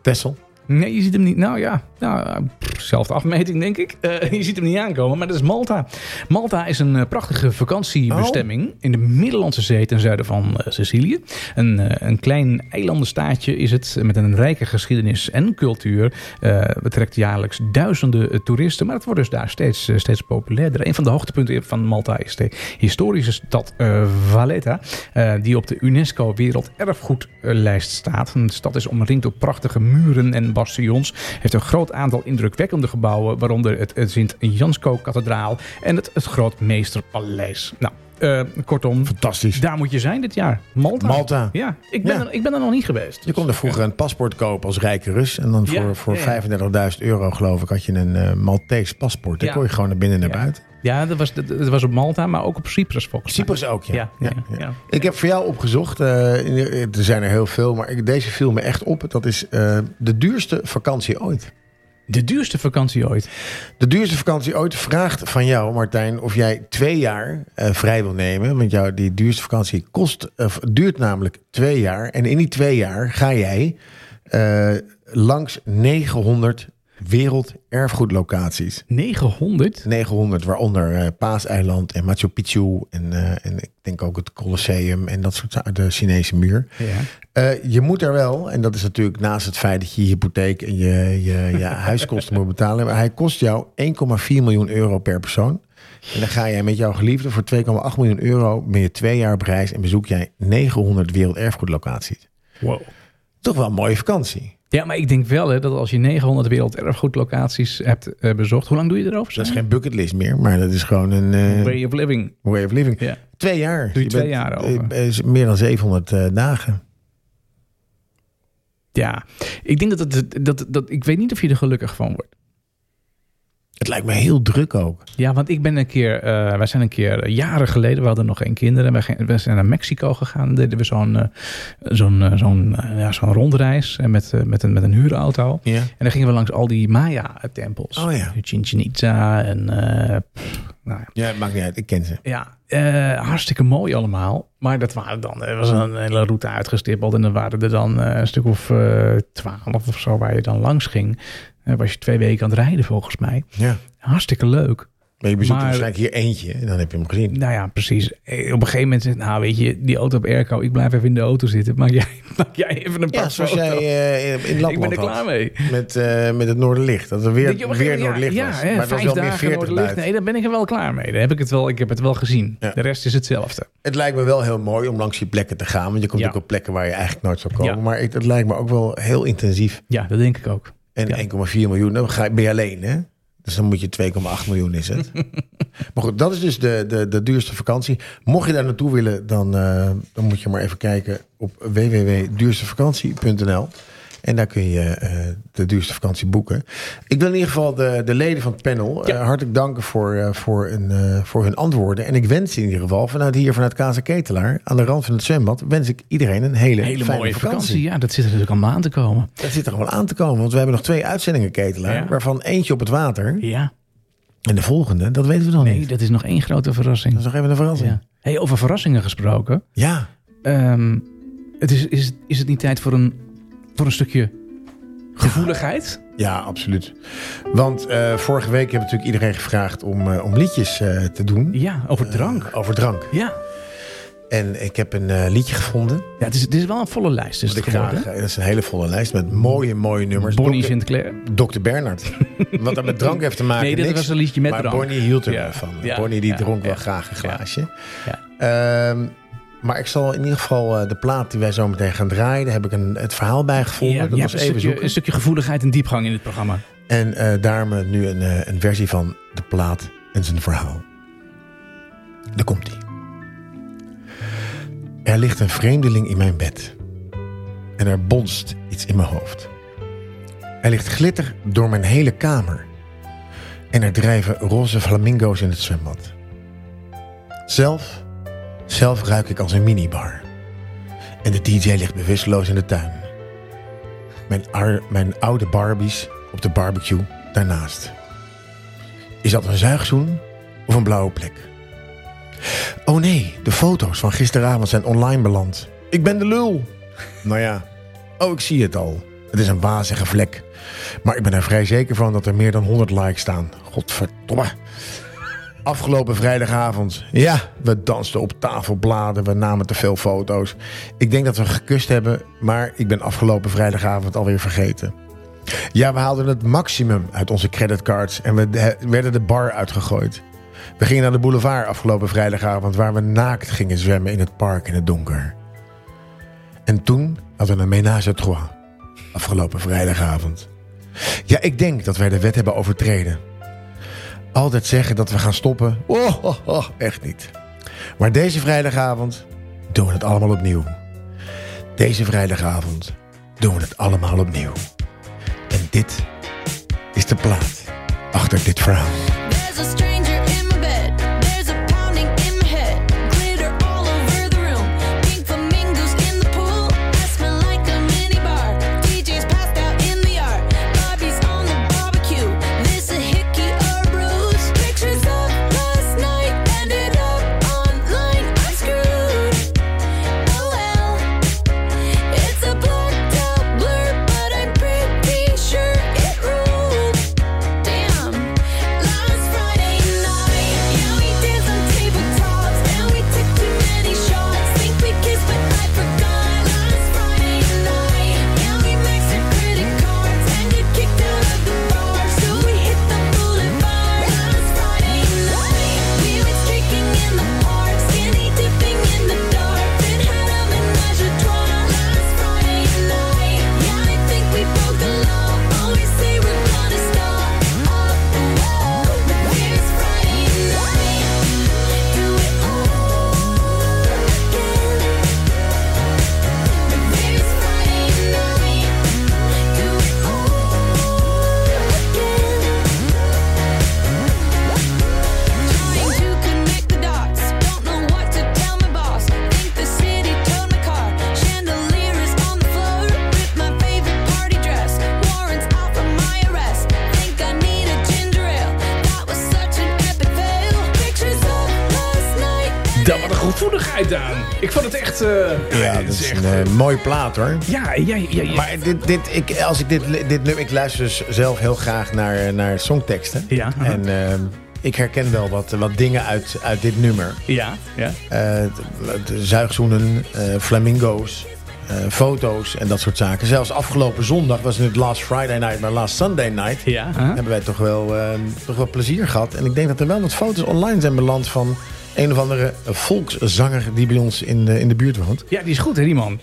S2: Tessel.
S1: Nee, je ziet hem niet. Nou ja, nou, eh, pff, zelfde afmeting denk ik. Eh, je ziet hem niet aankomen, maar dat is Malta. Malta is een eh, prachtige vakantiebestemming in de Middellandse Zee ten zuiden van eh, Sicilië. Een, eh, een klein eilandenstaatje is het eh, met een rijke geschiedenis en cultuur. Eh, betrekt jaarlijks duizenden eh, toeristen, maar het wordt dus daar steeds, eh, steeds populairder. Een van de hoogtepunten van Malta is de historische stad eh, Valletta, eh, die op de UNESCO Werelderfgoedlijst staat. De stad is omringd door prachtige muren en bastions, heeft een groot aantal indrukwekkende gebouwen, waaronder het, het Sint-Jansco-kathedraal en het, het Grootmeesterpaleis. Nou, eh, kortom,
S2: Fantastisch.
S1: daar moet je zijn dit jaar. Malta.
S2: Malta.
S1: Ja, ik ben,
S2: Ja.
S1: Er, ik ben er nog niet geweest. dus.
S2: Je kon er vroeger een paspoort kopen als rijke Rus. En dan
S1: Ja,
S2: voor, voor
S1: ja, ja.
S2: 35.000 euro, geloof ik, had je een eh Maltese paspoort. Dan
S1: Ja.
S2: kon je gewoon naar binnen en naar
S1: Ja.
S2: buiten.
S1: Ja, dat was, dat, dat was op Malta, maar ook op Cyprus volgens mij.
S2: Cyprus ook, ja.
S1: Ja, ja, ja.
S2: Ik heb voor jou opgezocht. eh, in de- er zijn er heel veel, maar ik, deze viel me echt op. Dat is eh, de duurste vakantie ooit.
S1: De duurste vakantie ooit.
S2: De duurste vakantie ooit vraagt van jou, Martijn, of jij twee jaar eh, vrij wil nemen. Want jou, die duurste vakantie kost, of duurt namelijk twee jaar. En in die twee jaar ga jij eh, langs 900 werelderfgoedlocaties.
S1: 900?
S2: 900, waaronder eh, Paaseiland en Machu Picchu. En, eh, en ik denk ook het Colosseum en dat soort za- de Chinese muur.
S1: Ja.
S2: Eh, je moet daar wel, en dat is natuurlijk naast het feit dat je je hypotheek en je, je, je huiskosten moet betalen. Maar hij kost jou 1,4 miljoen euro per persoon. En dan ga jij met jouw geliefde voor 2,8 miljoen euro, ben je twee jaar op reis en bezoek jij 900 werelderfgoedlocaties.
S1: Wow.
S2: Toch wel een mooie vakantie.
S1: Ja, maar ik denk wel hè, dat als je 900 werelderfgoedlocaties hebt eh, bezocht, hoe lang doe je erover?
S2: Dat is
S1: zeg?
S2: geen bucketlist meer, maar dat is gewoon een eh,
S1: Way of living.
S2: way of living.
S1: Ja.
S2: Twee jaar. Doe
S1: je twee jaar over.
S2: eh, meer dan 700 eh, dagen.
S1: ja. Ik denk dat het, dat, dat, ik weet niet of je er gelukkig van wordt.
S2: Het lijkt me heel druk ook.
S1: Ja, want ik ben een keer, eh, wij zijn een keer eh, jaren geleden, we hadden nog geen kinderen. Wij, gingen- wij zijn naar Mexico gegaan. Deden we zo'n eh, zo'n eh, zo'n eh, ja, zo'n rondreis eh, met, eh, met, een, met een huurauto.
S2: Ja.
S1: En dan gingen we langs al die Maya-tempels.
S2: Oh ja.
S1: Chichen Itza en... eh, pff, nou ja,
S2: ja, het maakt niet uit. Ik ken ze.
S1: ja eh, hartstikke mooi allemaal. Maar dat waren dan, er was een hele route uitgestippeld. En dan waren er dan eh, een stuk of twaalf of zo waar je dan langs ging. Eh, was je twee weken aan het rijden volgens mij.
S2: Ja.
S1: Hartstikke leuk.
S2: Maar je bezoekt
S1: Maar-
S2: waarschijnlijk hier eentje en dan heb je hem gezien.
S1: Nou ja, precies. Eh, Op een gegeven moment zegt, nou weet je, die auto op airco. Ik blijf even in de auto zitten. Maak jij, maak jij even een paar
S2: Ja, zoals
S1: foto's.
S2: jij eh, in
S1: ik ben
S2: Lapland
S1: er klaar
S2: had.
S1: mee.
S2: Met, eh, met het Noorderlicht. Dat er weer,
S1: Dat je op een
S2: weer
S1: gegeven moment- ja,
S2: Noorderlicht was.
S1: Ja,
S2: maar het was
S1: vijf
S2: wel meer
S1: dagen
S2: 40
S1: Noorderlicht.
S2: buiten.
S1: Nee, daar ben ik er wel klaar mee. Daar heb ik het wel, ik heb het wel gezien.
S2: Ja.
S1: De rest is hetzelfde.
S2: Het lijkt me wel heel mooi om langs die plekken te gaan. Want je komt
S1: Ja.
S2: ook op plekken waar je eigenlijk nooit zou komen.
S1: Ja.
S2: Maar ik, het lijkt me ook wel heel intensief.
S1: Ja, dat denk ik ook.
S2: En
S1: Ja.
S2: 1,4 miljoen, dan ga je- ben je alleen hè? Dus dan moet je 2,8 miljoen is het. maar goed, dat is dus de, de, de duurste vakantie. Mocht je daar naartoe willen, dan, eh, dan moet je maar even kijken op www.duurstevakantie.nl. En daar kun je eh, de duurste vakantie boeken. Ik wil in ieder geval de, de leden van het panel
S1: Ja.
S2: eh, hartelijk danken voor, eh, voor, hun, eh, voor hun antwoorden. En ik wens in ieder geval vanuit hier, vanuit Kaas en Ketelaar, aan de rand van het zwembad, wens ik iedereen een hele,
S1: Hele
S2: fijne
S1: mooie vakantie.
S2: vakantie.
S1: Ja, dat zit er natuurlijk allemaal aan te komen.
S2: Dat zit er gewoon aan te komen, want we hebben nog twee uitzendingen, Ketelaar.
S1: Ja.
S2: Waarvan eentje op het water.
S1: Ja.
S2: En de volgende, dat weten we nog
S1: Nee,
S2: niet.
S1: dat is nog één grote
S2: Dat is
S1: verrassing.
S2: nog even een verrassing.
S1: Ja.
S2: Ja.
S1: Hey, over verrassingen gesproken. Ehm, het is, is, is het niet tijd voor een, voor een stukje gevoeligheid?
S2: Ja, absoluut. Want eh, vorige week hebben natuurlijk iedereen gevraagd om, eh, om liedjes eh, te doen.
S1: Ja, over drank.
S2: Eh, over drank.
S1: Ja,
S2: En ik heb een eh, liedje gevonden.
S1: ja het, is, het is wel een volle lijst. Is
S2: Wat ik
S1: het geworden.
S2: graag, eh, dat is een hele volle lijst met mooie, mooie nummers.
S1: Bonnie
S2: Dr.
S1: Sinclair.
S2: Dr. Bernard. Wat dat met drank heeft te maken.
S1: Nee, dit
S2: niks.
S1: was een liedje met
S2: maar
S1: drank.
S2: Bonnie hield er
S1: Ja,
S2: wel van.
S1: ja,
S2: Bonnie die
S1: ja,
S2: dronk wel
S1: ja,
S2: graag een
S1: ja.
S2: glaasje. Ehm, maar ik zal in ieder geval eh, de plaat die wij zo meteen gaan draaien, daar heb ik een, het verhaal bij gevonden.
S1: Ja,
S2: dat
S1: je
S2: was
S1: hebt
S2: even
S1: een, stukje,
S2: zoeken.
S1: een stukje gevoeligheid en diepgang in dit programma.
S2: En eh daarmee nu een, eh, een versie van de plaat en zijn verhaal. Daar komt hij. Er ligt een vreemdeling in mijn bed. En er bonst iets in mijn hoofd. Er ligt glitter door mijn hele kamer. En er drijven roze flamingo's in het zwembad. Zelf, zelf ruik ik als een minibar. En de DJ ligt bewusteloos in de tuin. Mijn, ar- mijn oude Barbies op de barbecue daarnaast. Is dat een zuigzoen of een blauwe plek? Oh nee, de foto's van gisteravond zijn online beland. Ik ben de lul. Nou ja, oh ik zie het al. Het is een wazige vlek. Maar ik ben er vrij zeker van dat er meer dan 100 likes staan. Godverdomme. Afgelopen vrijdagavond. Ja, we dansten op tafelbladen. We namen te veel foto's. Ik denk dat we gekust hebben, maar ik ben afgelopen vrijdagavond alweer vergeten. Ja, we haalden het maximum uit onze creditcards en we de- werden de bar uitgegooid. We gingen naar de boulevard afgelopen vrijdagavond, waar we naakt gingen zwemmen in het park in het donker. En toen hadden we een ménage à trois afgelopen vrijdagavond. Ja, ik denk dat wij de wet hebben overtreden. Altijd zeggen dat we gaan stoppen. Oh, oh, oh, echt niet. Maar deze vrijdagavond doen we het allemaal opnieuw. Deze vrijdagavond doen we het allemaal opnieuw. En dit is de plaat achter dit verhaal.
S3: There's a stranger in my bed. There's a pounding in my head. Glitter all over the room. Pink flamingos in the pool. I smell like a minibar. DJ's passed out in the yard. Bobby's on the barbecue. This a hickey or bruise. Pictures of last night ended up online. I'm screwed. Oh well. It's a blacked out blur, but I'm pretty sure it rules. Damn. Last Friday night, yeah we danced on tabletops, and we took too many shots. Think we kissed, but I forgot. Last Friday night, yeah we maxed our credit cards and got kicked out of the bar, so we hit the boulevard. Last Friday night, we were drinking in the park, skinny dipping in the dark, then had a menage a trois. Last Friday night, yeah I think we broke the law. Always say we're gonna stop. Here's Friday night, do it all again. Here's Friday night, do it all again. Trying to connect the dots, don't know what to tell my boss. Think the city towed my car. Chandelier is on the floor with my favorite party dress. Warrants out for my arrest. Think I need a ginger ale. That was such an epic fail. Pictures of last night.
S1: Daar wat een gevoeligheid aan. Ik vond het echt... eh,
S2: Ja, dat
S1: dit
S2: is
S1: echt-
S2: een eh, mooie plaat hoor.
S1: Ja, ja, ja, ja.
S2: Maar dit, dit, ik, als ik dit, dit nummer, ik luister dus zelf heel graag naar, eh, naar songteksten.
S1: Ja.
S2: En eh, ik herken wel wat, wat dingen uit, uit dit nummer.
S1: ja, ja.
S2: Eh, de- de zuigzoenen, eh, flamingo's, eh, foto's en dat soort zaken. Zelfs afgelopen zondag was het niet last Friday night, maar last Sunday night.
S1: Ja, hè?
S2: Hebben wij toch wel, eh, toch wel plezier gehad. En ik denk dat er wel wat foto's online zijn beland van een of andere volkszanger die bij ons in de, in de buurt woont.
S1: ja, die is goed hè, die man.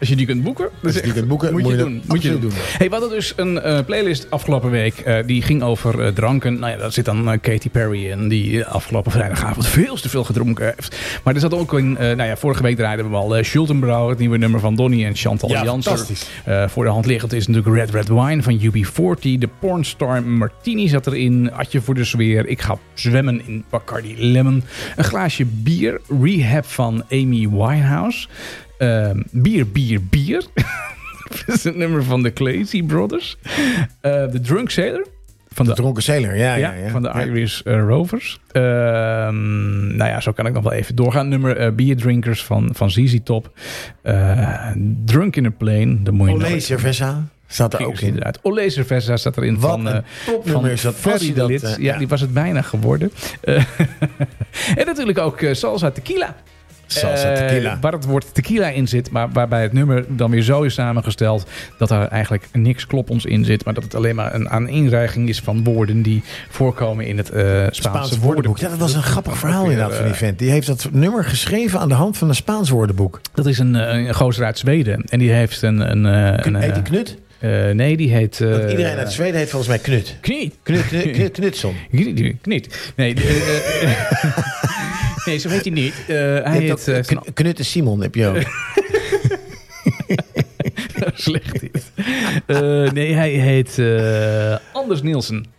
S1: Als je die kunt boeken, dan
S2: Als je die
S1: echt-
S2: kunt boeken,
S1: moet,
S2: moet
S1: je
S2: je
S1: doen.
S2: dat
S1: Moet je doen.
S2: absoluut
S1: Hey, we hadden dus een eh, playlist afgelopen week. eh, die ging over eh, dranken. Nou ja, daar zit dan eh, Katy Perry in. Die eh, afgelopen vrijdagavond veel te veel gedronken heeft. Maar er zat ook een... eh, nou ja, vorige week draaiden we al eh Schultenbrouw. Het nieuwe nummer van Donny en Chantal
S2: Ja,
S1: Jansen.
S2: fantastisch.
S1: Eh, voor de hand liggend is natuurlijk Red Red Wine van UB40. De pornstar Martini zat erin. Atje voor de sfeer. Ik ga zwemmen in Bacardi Lemon. Een glaasje bier. Rehab van Amy Winehouse. Ehm, bier, bier, bier. Dat is het nummer van de Clancy Brothers. Eh, de Drunk Sailor. Van de,
S2: Dronken Sailor, ja. ja,
S1: ja,
S2: ja,
S1: Van de
S2: Ja.
S1: Irish eh, Rovers. Ehm, nou ja, zo kan ik nog wel even doorgaan. Nummer eh Beer Drinkers van, van ZZ Top. Eh, Drunk in a Plane. De mooie
S2: Olé Cerveza staat er ook in.
S1: Inderdaad. Olé Cerveza staat erin.
S2: Wat
S1: van, eh,
S2: een topnummer is dat. als
S1: Ferry
S2: je
S1: de
S2: dat,
S1: Lid.
S2: eh,
S1: ja, die was het bijna geworden. Eh, en natuurlijk ook eh, Salsa Tequila.
S2: Salsa
S1: Eh,
S2: tequila.
S1: waar het woord tequila in zit, maar waarbij het nummer dan weer zo is samengesteld dat er eigenlijk niks kloppends in zit, maar dat het alleen maar een aaneenreiging is van woorden die voorkomen in het eh, Spaanse,
S2: Spaans
S1: woordenboek.
S2: woordenboek. Ja, dat was een grappig verhaal
S1: weer,
S2: inderdaad van die
S1: eh,
S2: vent. Die heeft dat nummer geschreven aan de hand van een Spaans woordenboek.
S1: Dat is een, eh, een gozer uit Zweden en die heeft een... een, eh, een,
S2: Heet die Knut?
S1: eh, nee, die heet... eh,
S2: Want iedereen uit Zweden heet volgens mij Knut.
S1: Knie.
S2: Knut, Knut, Knut Knutson.
S1: Kniet. Kniet. Nee, die- eh, eh, nee, zo heet hij niet. Eh, hij
S2: Je hebt
S1: heet...
S2: ook
S1: eh,
S2: Kn- Knut en Simon heb je ook.
S1: slecht dit. Eh, nee, hij heet eh, Anders Nielsen.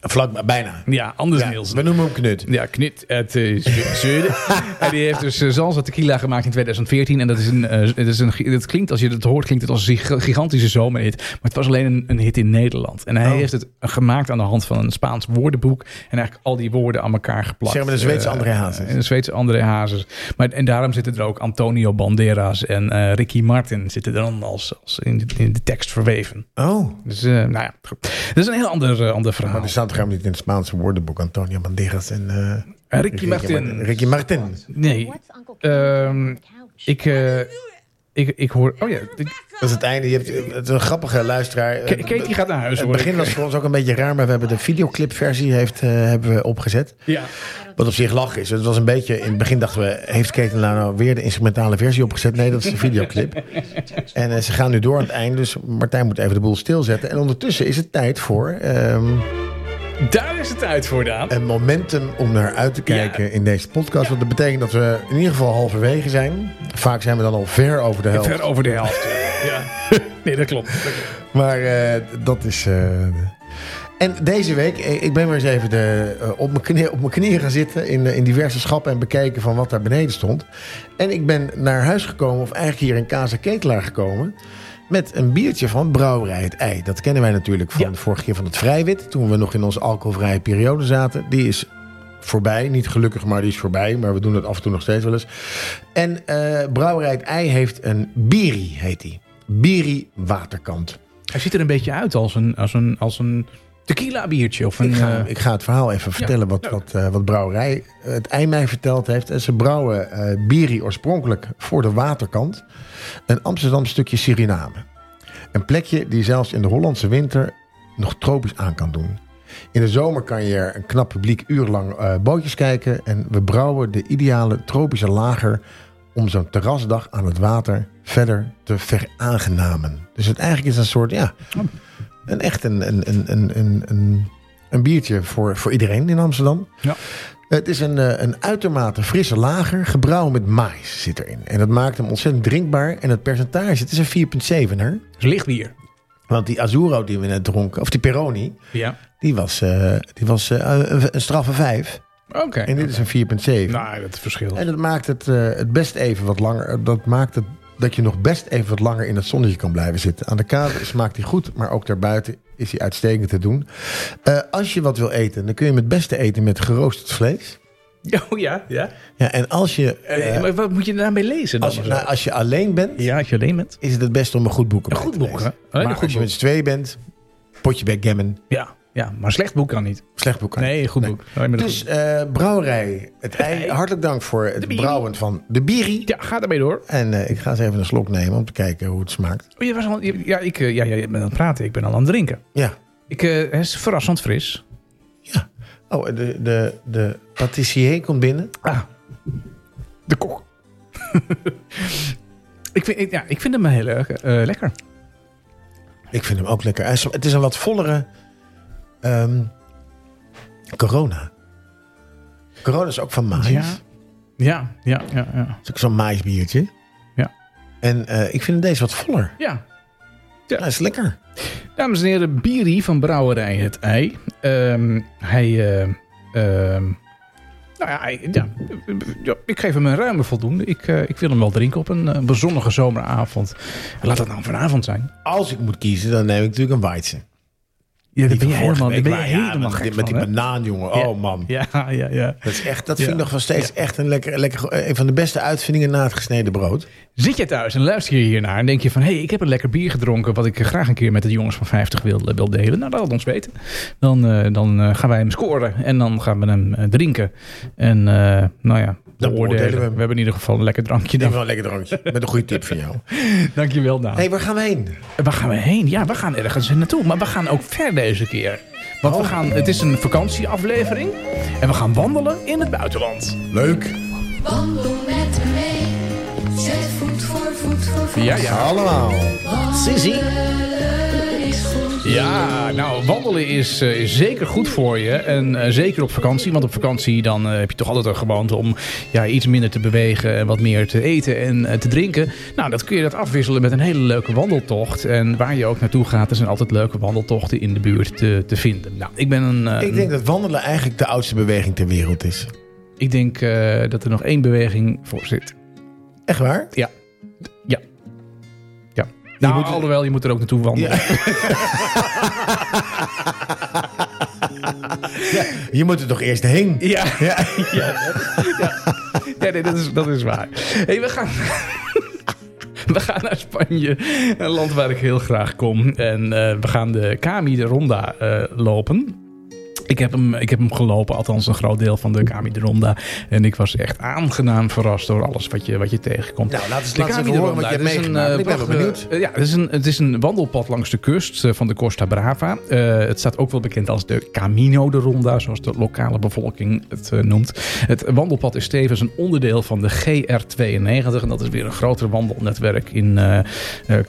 S2: Vlak, bijna.
S1: Ja, Anders
S2: Ja,
S1: Nielsen.
S2: we noemen hem Knut.
S1: Ja, Knit uit eh, Zwe- Zweden. en die heeft dus eh, Salsa Tequila gemaakt in 2014. En dat is een, eh, het is een, gi- het klinkt, als je het hoort, klinkt het als een gig- gigantische zomerhit. Maar het was alleen een, een hit in Nederland. En hij
S2: Oh.
S1: heeft het gemaakt aan de hand van een Spaans woordenboek. En eigenlijk al die woorden aan elkaar geplakt.
S2: Zeg maar de Zweedse
S1: Eh,
S2: André Hazes.
S1: en de Zweedse André Hazes. Maar, en daarom zitten er ook Antonio Banderas en eh, Ricky Martin zitten er dan als, als in, de, in de tekst verweven.
S2: Oh,
S1: Dus eh, nou ja, goed. dat is een heel ander, eh, ander verhaal.
S2: maar dus- er staat toch helemaal niet in het Spaanse woordenboek Antonio Banderas en eh,
S1: Eh, Ricky
S2: Martin-
S1: Martin.
S2: Ricky Martin.
S1: Nee,
S4: What's Uncle
S1: Ehm,
S4: Ken's couch?
S1: Ik, eh, ik, ik hoor. Oh ja. ik-
S2: Dat is het einde. Je hebt, eh, het is een grappige luisteraar.
S1: K- Katie gaat naar huis
S2: Het
S1: hoor.
S2: begin was voor ons ook een beetje raar, maar we hebben de videoclipversie heeft, eh, hebben we opgezet.
S1: Ja.
S2: Wat op zich lach is. Het was een beetje, in het begin dachten we, heeft Keten nou nou weer de instrumentale versie opgezet? Nee, dat is de videoclip. En eh, ze gaan nu door aan het eind, dus Martijn moet even de boel stilzetten. En ondertussen is het tijd voor ehm,
S1: Daar is het uit voor, Daan.
S2: een momentum om naar uit te kijken
S1: Ja.
S2: in deze podcast. Want dat betekent dat we in ieder geval halverwege zijn. Vaak zijn we dan al ver over de helft.
S1: Ver over de helft. ja. Nee, dat klopt. Dat klopt.
S2: Maar eh, dat is. eh, en deze week, eh, ik ben weer eens even de, eh, op, mijn knie, op mijn knieën gaan zitten in, eh, in diverse schappen en bekijken van wat daar beneden stond. En ik ben naar huis gekomen, of eigenlijk hier in Kaza Ketelaar gekomen, met een biertje van Brouwerij het Ei. Dat kennen wij natuurlijk van
S1: Ja.
S2: de vorige keer van het Vrijwit, toen we nog in onze alcoholvrije periode zaten. Die is voorbij, niet gelukkig, maar die is voorbij. Maar we doen dat af en toe nog steeds wel eens. En eh, Brouwerij het Ei heeft een biri, heet die. Biri Waterkant.
S1: Hij ziet er een beetje uit als een, als een, als een tequila biertje. Of een,
S2: Ik ga,
S1: eh,
S2: ik ga het verhaal even vertellen wat,
S1: leuk.
S2: wat, eh, wat brouwerij het ei mij verteld heeft. En ze brouwen eh biri oorspronkelijk voor de waterkant. Een Amsterdam stukje Suriname. Een plekje die zelfs in de Hollandse winter nog tropisch aan kan doen. In de zomer kan je er een knap publiek urenlang eh, bootjes kijken. En we brouwen de ideale tropische lager om zo'n terrasdag aan het water verder te veraangenamen. Dus het eigenlijk is een soort, ja, een echt een, een, een, een, een, een, een biertje voor, voor iedereen in Amsterdam.
S1: Ja.
S2: Het is een, eh, een uitermate frisse lager, gebrouwen met maïs zit erin. En dat maakt hem ontzettend drinkbaar. En het percentage, het is een 4,7 hè?
S1: is licht bier.
S2: Want die Azuro die we net dronken, of die Peroni,
S1: Ja.
S2: die was, eh, die was eh, een, een straffe 5.
S1: Oké.
S2: En dit is een 4,7.
S1: Nou, dat verschil.
S2: En dat maakt het, eh, het best even wat langer. eh, Dat maakt het dat je nog best even wat langer in het zonnetje kan blijven zitten. Aan de kade smaakt hij goed, maar ook daarbuiten is hij uitstekend te doen. Eh, als je wat wil eten, dan kun je hem het beste eten met geroosterd vlees.
S1: Oh ja, ja.
S2: Ja, en als je,
S1: Eh,
S2: eh,
S1: maar wat moet je daarmee lezen dan?
S2: als, je,
S1: Of zo?
S2: nou, als je alleen bent,
S1: ja, als je alleen bent.
S2: is het het beste om een goed boek
S1: Een
S2: bij
S1: goed
S2: te
S1: boek,
S2: lezen.
S1: hè? Alleen een
S2: Maar
S1: goed
S2: als je
S1: boek.
S2: met z'n tweeën bent, potje backgammon,
S1: Ja. ja, maar slecht boek kan niet.
S2: slecht boek. aan.
S1: Nee, goed boek. Alleen maar een
S2: Dus
S1: goed-
S2: eh, brouwerij, het ei,
S1: ei.
S2: hartelijk dank voor het
S1: biri.
S2: brouwen van de biri.
S1: Ja, ga daarmee door.
S2: En eh, ik ga eens even een slok nemen om te kijken hoe het smaakt.
S1: Oh, je was al, je- ja, ik, eh, ja, ja, je bent aan het praten. Ik ben al aan het drinken.
S2: Ja,
S1: Ik, eh, het is verrassend fris.
S2: Ja. Oh, de, de, de patissier komt binnen.
S1: Ah, de kok. Ik vind, ik- ja, ik vind hem heel erg eh, lekker.
S2: Ik vind hem ook lekker. Hij is- Het is een wat vollere ehm, corona. Corona is ook van maïs.
S1: Ja. Ja, ja, ja, ja.
S2: Het is ook zo'n maïsbiertje.
S1: Ja.
S2: En eh, ik vind deze wat voller.
S1: Ja,
S2: Hij is lekker.
S1: Dames en heren, Biri van Brouwerij Het Ei. Ehm, hij, ehm, ehm, nou ja, hij- ja, ja, ik geef hem een ruime voldoende. Ik, eh, ik wil hem wel drinken op een eh, bezonnige zomeravond. Laat dat nou vanavond zijn.
S2: Als ik moet kiezen, dan neem ik natuurlijk een Weidse.
S1: Ja,
S2: Die
S1: daar ben je
S2: van vorige
S1: helemaal, daar
S2: week,
S1: ben je
S2: maar ja,
S1: helemaal
S2: met,
S1: gek
S2: die- met die
S1: van, hè?
S2: banaan, jongen.
S1: Ja.
S2: Oh man.
S1: Ja, ja, ja.
S2: Dat, is echt, dat
S1: Ja.
S2: vind ik nog van steeds echt een, lekker, lekker, een van de beste uitvindingen na het gesneden brood.
S1: Zit je thuis en luister je hiernaar en denk je van... hé, hey, ik heb een lekker bier gedronken... wat ik graag een keer met de jongens van 50 wil, wil delen. Nou, laat het ons weten. Dan, eh, dan eh, gaan wij hem scoren en dan gaan we hem eh, drinken. En eh, nou ja,
S2: Dan beoordelen we hem.
S1: We hebben in ieder geval een lekker drankje.
S2: Ik denk
S1: Dan.
S2: wel een lekker drankje. Met een goede tip van jou.
S1: Dankjewel, Daan.
S2: Hé, hey, waar gaan we heen?
S1: Waar gaan we heen? Ja, we gaan ergens naartoe. Maar we gaan ook ver deze keer. Want
S2: Oh.
S1: we gaan, het is een vakantieaflevering. En we gaan wandelen in het buitenland.
S2: Leuk.
S4: Wandel met me mee. Zet voet voor voet voor voet.
S1: Ja, ja.
S2: Allemaal. Sissy.
S4: Wandelen is goed.
S1: Ja, nou, wandelen is, eh, is zeker goed voor je. En eh, zeker op vakantie. Want op vakantie dan eh, heb je toch altijd een gewoonte om ja, iets minder te bewegen. En wat meer te eten en eh, te drinken. Nou, dat kun je dat afwisselen met een hele leuke wandeltocht. En waar je ook naartoe gaat, er zijn altijd leuke wandeltochten in de buurt te, te vinden. Nou, ik ben een... eh,
S2: Ik denk dat wandelen eigenlijk de oudste beweging ter wereld is.
S1: Ik denk eh, dat er nog één beweging voor zit.
S2: Echt waar?
S1: Ja. Ja. Ja. Nou,
S2: moet-
S1: alhoewel, je moet er ook naartoe wandelen. Ja.
S2: Je moet er toch eerst heen?
S1: Ja. Ja. Ja, nee, dat is, dat is waar. hey, we gaan... We gaan naar Spanje, een land waar ik heel graag kom. En eh, we gaan de Cami de Ronda eh, lopen. Ik heb, hem, ik heb hem gelopen, althans een groot deel van de Cami de Ronda. En ik was echt aangenaam verrast door alles wat je, wat je tegenkomt.
S2: Nou, laat eens,
S1: De
S2: laat eens
S1: Cami
S2: even
S1: de
S2: horen wat
S1: Ronda,
S2: je
S1: het
S2: hebt
S1: is een,
S2: meegemaakt.
S1: eh,
S2: ik ben wel
S1: prachtige-
S2: benieuwd.
S1: eh, Ja, het is, een, het is een wandelpad langs de kust eh, van de Costa Brava. Eh, het staat ook wel bekend als de Camino de Ronda, zoals de lokale bevolking het eh, noemt. Het wandelpad is tevens een onderdeel van de GR92. En dat is weer een groter wandelnetwerk in eh, eh,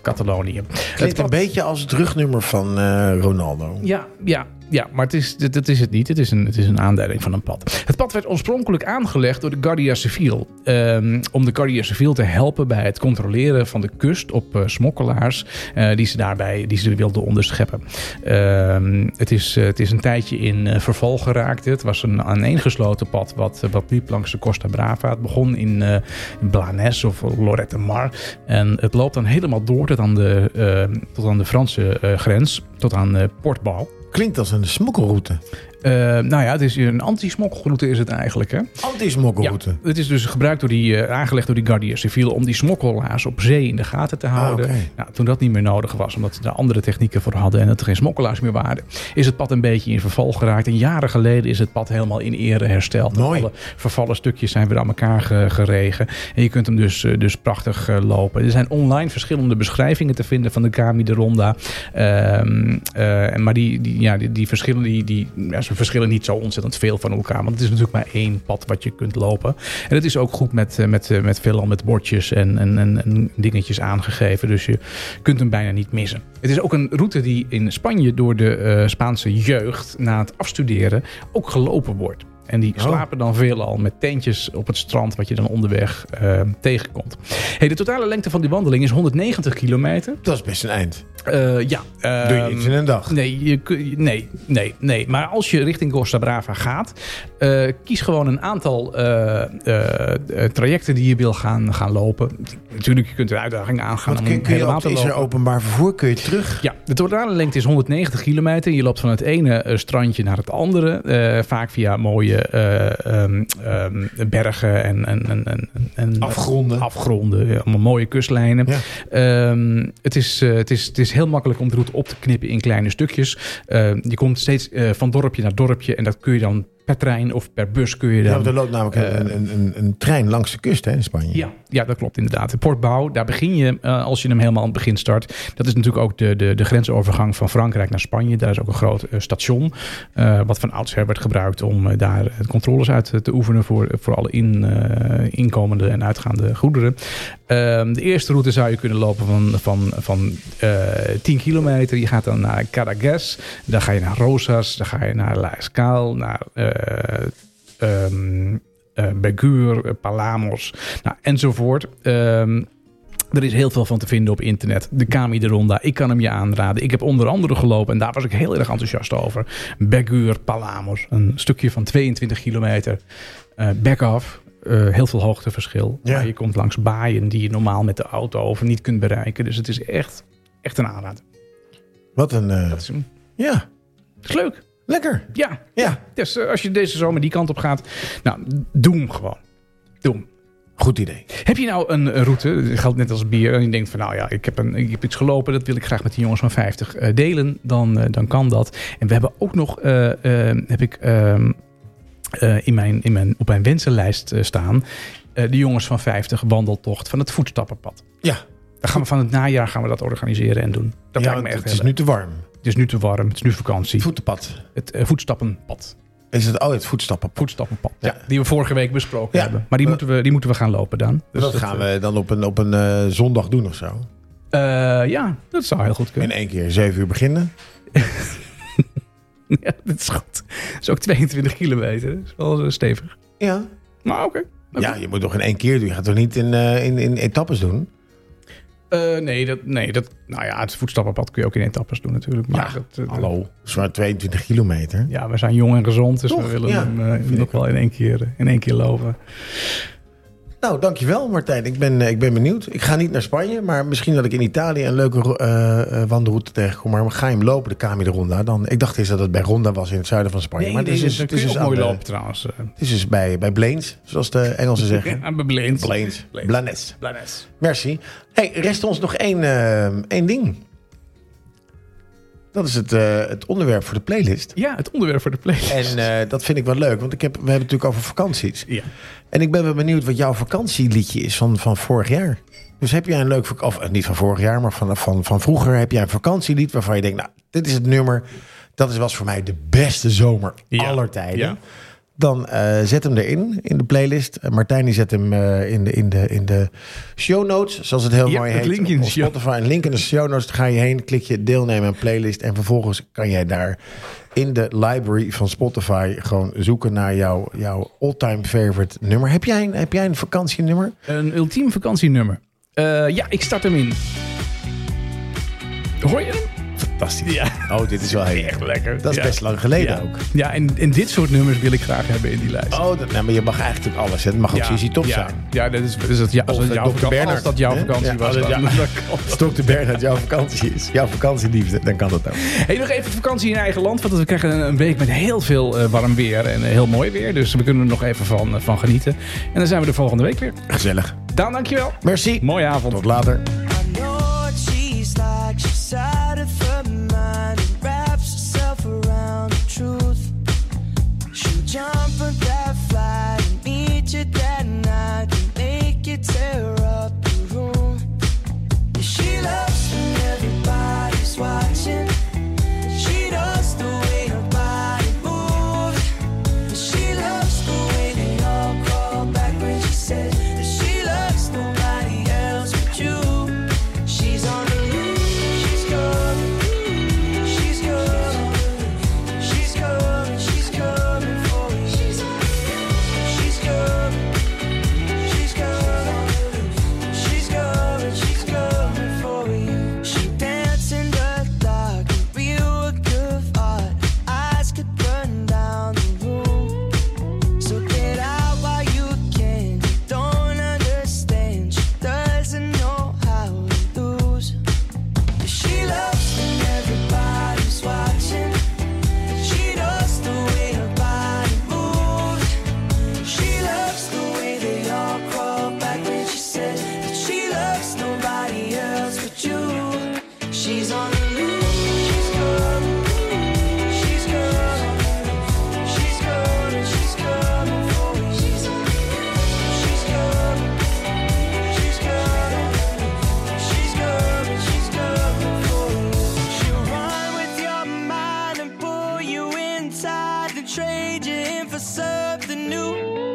S1: Catalonië. Het
S2: Klinkt een
S1: pad-
S2: beetje als het rugnummer van eh, Ronaldo.
S1: ja, ja, ja, maar het is, dat, dat is het niet. Het is, een, het is een aanduiding van een pad. Het pad werd oorspronkelijk aangelegd door de Guardia Civil. ehm, om de Guardia Civil te helpen bij het controleren van de kust op eh, smokkelaars. eh, die ze daarbij die ze wilden onderscheppen. Ehm, het, is, eh, het is een tijdje in eh, verval geraakt. Het was een aaneengesloten pad wat, eh, wat liep langs de Costa Brava. Het begon in, eh, in Blanes of Lorette Mar. En het loopt dan helemaal door tot aan de, eh, tot aan de Franse eh, grens. Tot aan eh, Portbal.
S2: Klinkt als een smokkelroute.
S1: Eh, nou ja, het is een anti-smokkelroute is het eigenlijk. Hè?
S2: Anti-smokkelroute.
S1: Ja, het is dus gebruikt door die, eh, aangelegd door die Guardia Civil om die smokkelaars op zee in de gaten te houden.
S2: Ah, oké.
S1: nou, toen dat niet meer nodig was, omdat ze daar andere technieken voor hadden en het er geen smokkelaars meer waren, is het pad een beetje in verval geraakt. En jaren geleden is het pad helemaal in ere hersteld.
S2: Mooi.
S1: Alle vervallen stukjes zijn weer aan elkaar ge- geregen. En je kunt hem dus, eh, dus prachtig eh, lopen. Er zijn online verschillende beschrijvingen te vinden van de Kami de Ronda. Ehm, eh, en maar die, die, ja, die, die verschillen, die, die, ja, ze verschillen niet zo ontzettend veel van elkaar. Want het is natuurlijk maar één pad wat je kunt lopen. En het is ook goed met, eh, met, eh, met veelal met bordjes en, en, en, en dingetjes aangegeven. Dus je kunt hem bijna niet missen. Het is ook een route die in Spanje door de eh, Spaanse jeugd na het afstuderen ook gelopen wordt. En die
S2: Oh.
S1: slapen dan veelal met tentjes op het strand, wat je dan onderweg eh, tegenkomt. Hey, de totale lengte van die wandeling is 190 kilometer.
S2: Dat is best een eind.
S1: Eh, ja.
S2: Doe je iets in een dag.
S1: Nee, je, kun- nee, nee, nee. Maar als je richting Costa Brava gaat, eh, kies gewoon een aantal eh, eh, eh, trajecten die je wil gaan, gaan lopen. Natuurlijk, je kunt de uitdaging aangaan
S2: Want
S1: om
S2: kun, kun je
S1: helemaal
S2: ook,
S1: te
S2: is
S1: lopen.
S2: er openbaar vervoer? Kun je terug?
S1: Ja, de totale lengte is 190 kilometer. Je loopt van het ene eh, strandje naar het andere. eh, vaak via mooie eh, ehm, ehm, bergen en, en, en, en, en
S2: Afgronden.
S1: afgronden. Ja, allemaal mooie kustlijnen.
S2: Ja.
S1: Ehm, het, is, eh, het, is, het is heel makkelijk om de route op te knippen in kleine stukjes. Ehm, je komt steeds eh, van dorpje naar dorpje en dat kun je dan per trein of per bus kun je
S2: Ja,
S1: dan...
S2: want er loopt namelijk
S1: eh,
S2: een, een, een, een trein langs de kust hè, in Spanje.
S1: Ja, eh, ja, dat klopt inderdaad. De Portbouw, daar begin je eh, als je hem helemaal aan het begin start. Dat is natuurlijk ook de, de, de grensovergang van Frankrijk naar Spanje. Daar is ook een groot eh, station, eh, wat van oudsher werd gebruikt om eh, daar eh, controles uit eh, te oefenen voor, voor alle in, eh, inkomende en uitgaande goederen. Ehm, de eerste route zou je kunnen lopen van, van, van eh 10 kilometer. Je gaat dan naar Caracas, dan ga je naar Rosas, dan ga je naar La Escal, naar... eh, ehm eh Begur, eh, Palamos, nou, enzovoort. Ehm, er is heel veel van te vinden op internet. De Kami de Ronda, ik kan hem je aanraden. Ik heb onder andere gelopen en daar was ik heel erg enthousiast over. Begur, Palamos, een stukje van 22 kilometer. eh back off, eh, heel veel hoogteverschil.
S2: Ja.
S1: Maar je komt langs baaien die je normaal met de auto over niet kunt bereiken. Dus het is echt, echt een aanrader.
S2: Wat een... eh,
S1: Dat is, hem.
S2: ja,
S1: Het is leuk.
S2: lekker.
S1: Ja,
S2: Ja,
S1: dus eh, als je deze zomer die kant op gaat, nou, doe hem gewoon. Doe hem.
S2: goed idee.
S1: Heb je nou een eh, route, dat geldt net als bier, en je denkt van nou ja, ik heb, een, ik heb iets gelopen, dat wil ik graag met die jongens van 50 eh, delen, dan, eh, dan kan dat. En we hebben ook nog, eh, eh, heb ik ehm, eh, in mijn, in mijn, op mijn wensenlijst eh, staan, eh, de jongens van 50 wandeltocht van het voetstappenpad.
S2: Ja,
S1: Dan gaan we van het najaar gaan we dat organiseren en doen. Dat
S2: ja
S1: lijkt me
S2: want
S1: echt
S2: het is
S1: heel
S2: nu
S1: leuk.
S2: te warm.
S1: Het is nu te warm, het is nu vakantie.
S2: Voetenpad.
S1: het eh, voetstappenpad.
S2: Is het altijd voetstappen?
S1: Voetstappenpad,
S2: Ja.
S1: ja. die we vorige week besproken
S2: Ja.
S1: hebben. Maar die,
S2: Eh,
S1: moeten we, die moeten we gaan lopen dan. Dus
S2: dat gaan
S1: eh,
S2: we dan op een, op een eh, zondag doen of zo.
S1: eh, ja, dat zou heel goed kunnen.
S2: In één keer zeven uur beginnen.
S1: Ja, dat is goed. Dat is ook 22 kilometer. Dat is wel eh, stevig.
S2: Ja.
S1: Maar oké. Oké.
S2: Ja, je moet toch in één keer doen. Je gaat toch niet in, eh, in, in etappes doen?
S1: Eh, nee, dat, nee dat, nou ja, het voetstappenpad kun je ook in etappes doen natuurlijk. Maar dat, eh,
S2: Zwaar 22 kilometer.
S1: Ja, we zijn jong en gezond, dus
S2: Toch,
S1: we willen
S2: ja.
S1: hem eh, nog wel in één, keer, eh, in één keer lopen.
S2: Nou, dankjewel Martijn. Ik ben, eh, ik ben benieuwd. Ik ga niet naar Spanje, maar misschien dat ik in Italië een leuke ro- eh, eh, wandelroute tegenkom. Maar ga je hem lopen, de Cami de Ronda? Dan, ik dacht eerst dat het bij Ronda was in het zuiden van Spanje. maar
S1: maar
S2: het is, dus-
S1: dat
S2: het
S1: kun
S2: is
S1: je ook
S2: dus aan
S1: mooi
S2: de-
S1: lopen trouwens. eh.
S2: Het is dus bij, bij Blains, zoals de Engelsen zeggen.
S1: Aan Blanes.
S2: Blains.
S1: Blanes.
S2: Blanes.
S1: Blanes.
S2: Merci. Hey, rest ons nog één, eh, één ding. Dat is het, eh, het onderwerp voor de playlist.
S1: Ja, het onderwerp voor de playlist.
S2: En eh, dat vind ik wel leuk, want ik heb, we hebben het natuurlijk over vakanties.
S1: ja.
S2: En ik ben wel benieuwd wat jouw vakantieliedje is van, van vorig jaar. Dus heb jij een leuk vak- of eh, niet van vorig jaar, maar van, van, van vroeger heb jij een vakantielied waarvan je denkt, nou, dit is het nummer. Dat is, was voor mij de beste zomer
S1: Ja.
S2: aller tijden.
S1: Ja.
S2: Dan eh, zet hem erin in de playlist. Eh, Martijn die zet hem eh, in, de, in, de, in de show notes, zoals het heel
S1: Ja,
S2: mooi
S1: het
S2: heet.
S1: linkje in
S2: op
S1: de show-
S2: Spotify, een link in de show notes. Daar ga je heen, klik je deelnemen aan playlist. En vervolgens kan jij daar in de library van Spotify gewoon zoeken naar jouw, jouw all-time favorite nummer. Heb jij, een, heb jij een vakantienummer?
S1: Een ultiem vakantienummer. Eh, ja, ik start hem in. Hoor je hem?
S2: Fantastisch.
S1: Ja.
S2: Oh, dit is wel heel
S1: Echt lekker.
S2: Dat is
S1: Ja.
S2: best lang geleden
S1: ja.
S2: ook.
S1: Ja, en, en dit soort nummers wil ik graag hebben in die lijst.
S2: Oh, dat, nou, maar je mag eigenlijk alles. hè. Het mag ook Sissy Top
S1: ja,
S2: zijn.
S1: Ja, dat is, is dat, ja, als,
S2: Of,
S1: dat
S2: eh,
S1: jouw
S2: Dr.
S1: vakantie,
S2: Bernhard,
S1: als dat jouw
S2: hè?
S1: vakantie
S2: Ja,
S1: was.
S2: als het
S1: dan-
S2: jou-
S1: dan kan het.
S2: Stok de Bern uit jouw vakantie is. Jouw vakantieliefde, dan kan dat ook.
S1: Hey, nog even vakantie in eigen land. Want we krijgen een, een week met heel veel eh, warm weer en eh, heel mooi weer. Dus we kunnen er nog even van, eh, van genieten. En dan zijn we de volgende week weer.
S2: Gezellig.
S1: Daan, dankjewel.
S2: Merci.
S1: Mooie avond.
S2: Tot later.
S5: I know she's like she's out of her mind and wraps herself around the truth. She'll jump on that flight and meet you that night and make you tear up the room. Yeah, she loves when everybody's watching. She knows the way her body moves. She loves the way they all crawl back when she says that she loves nobody else but you. trade you in for something new.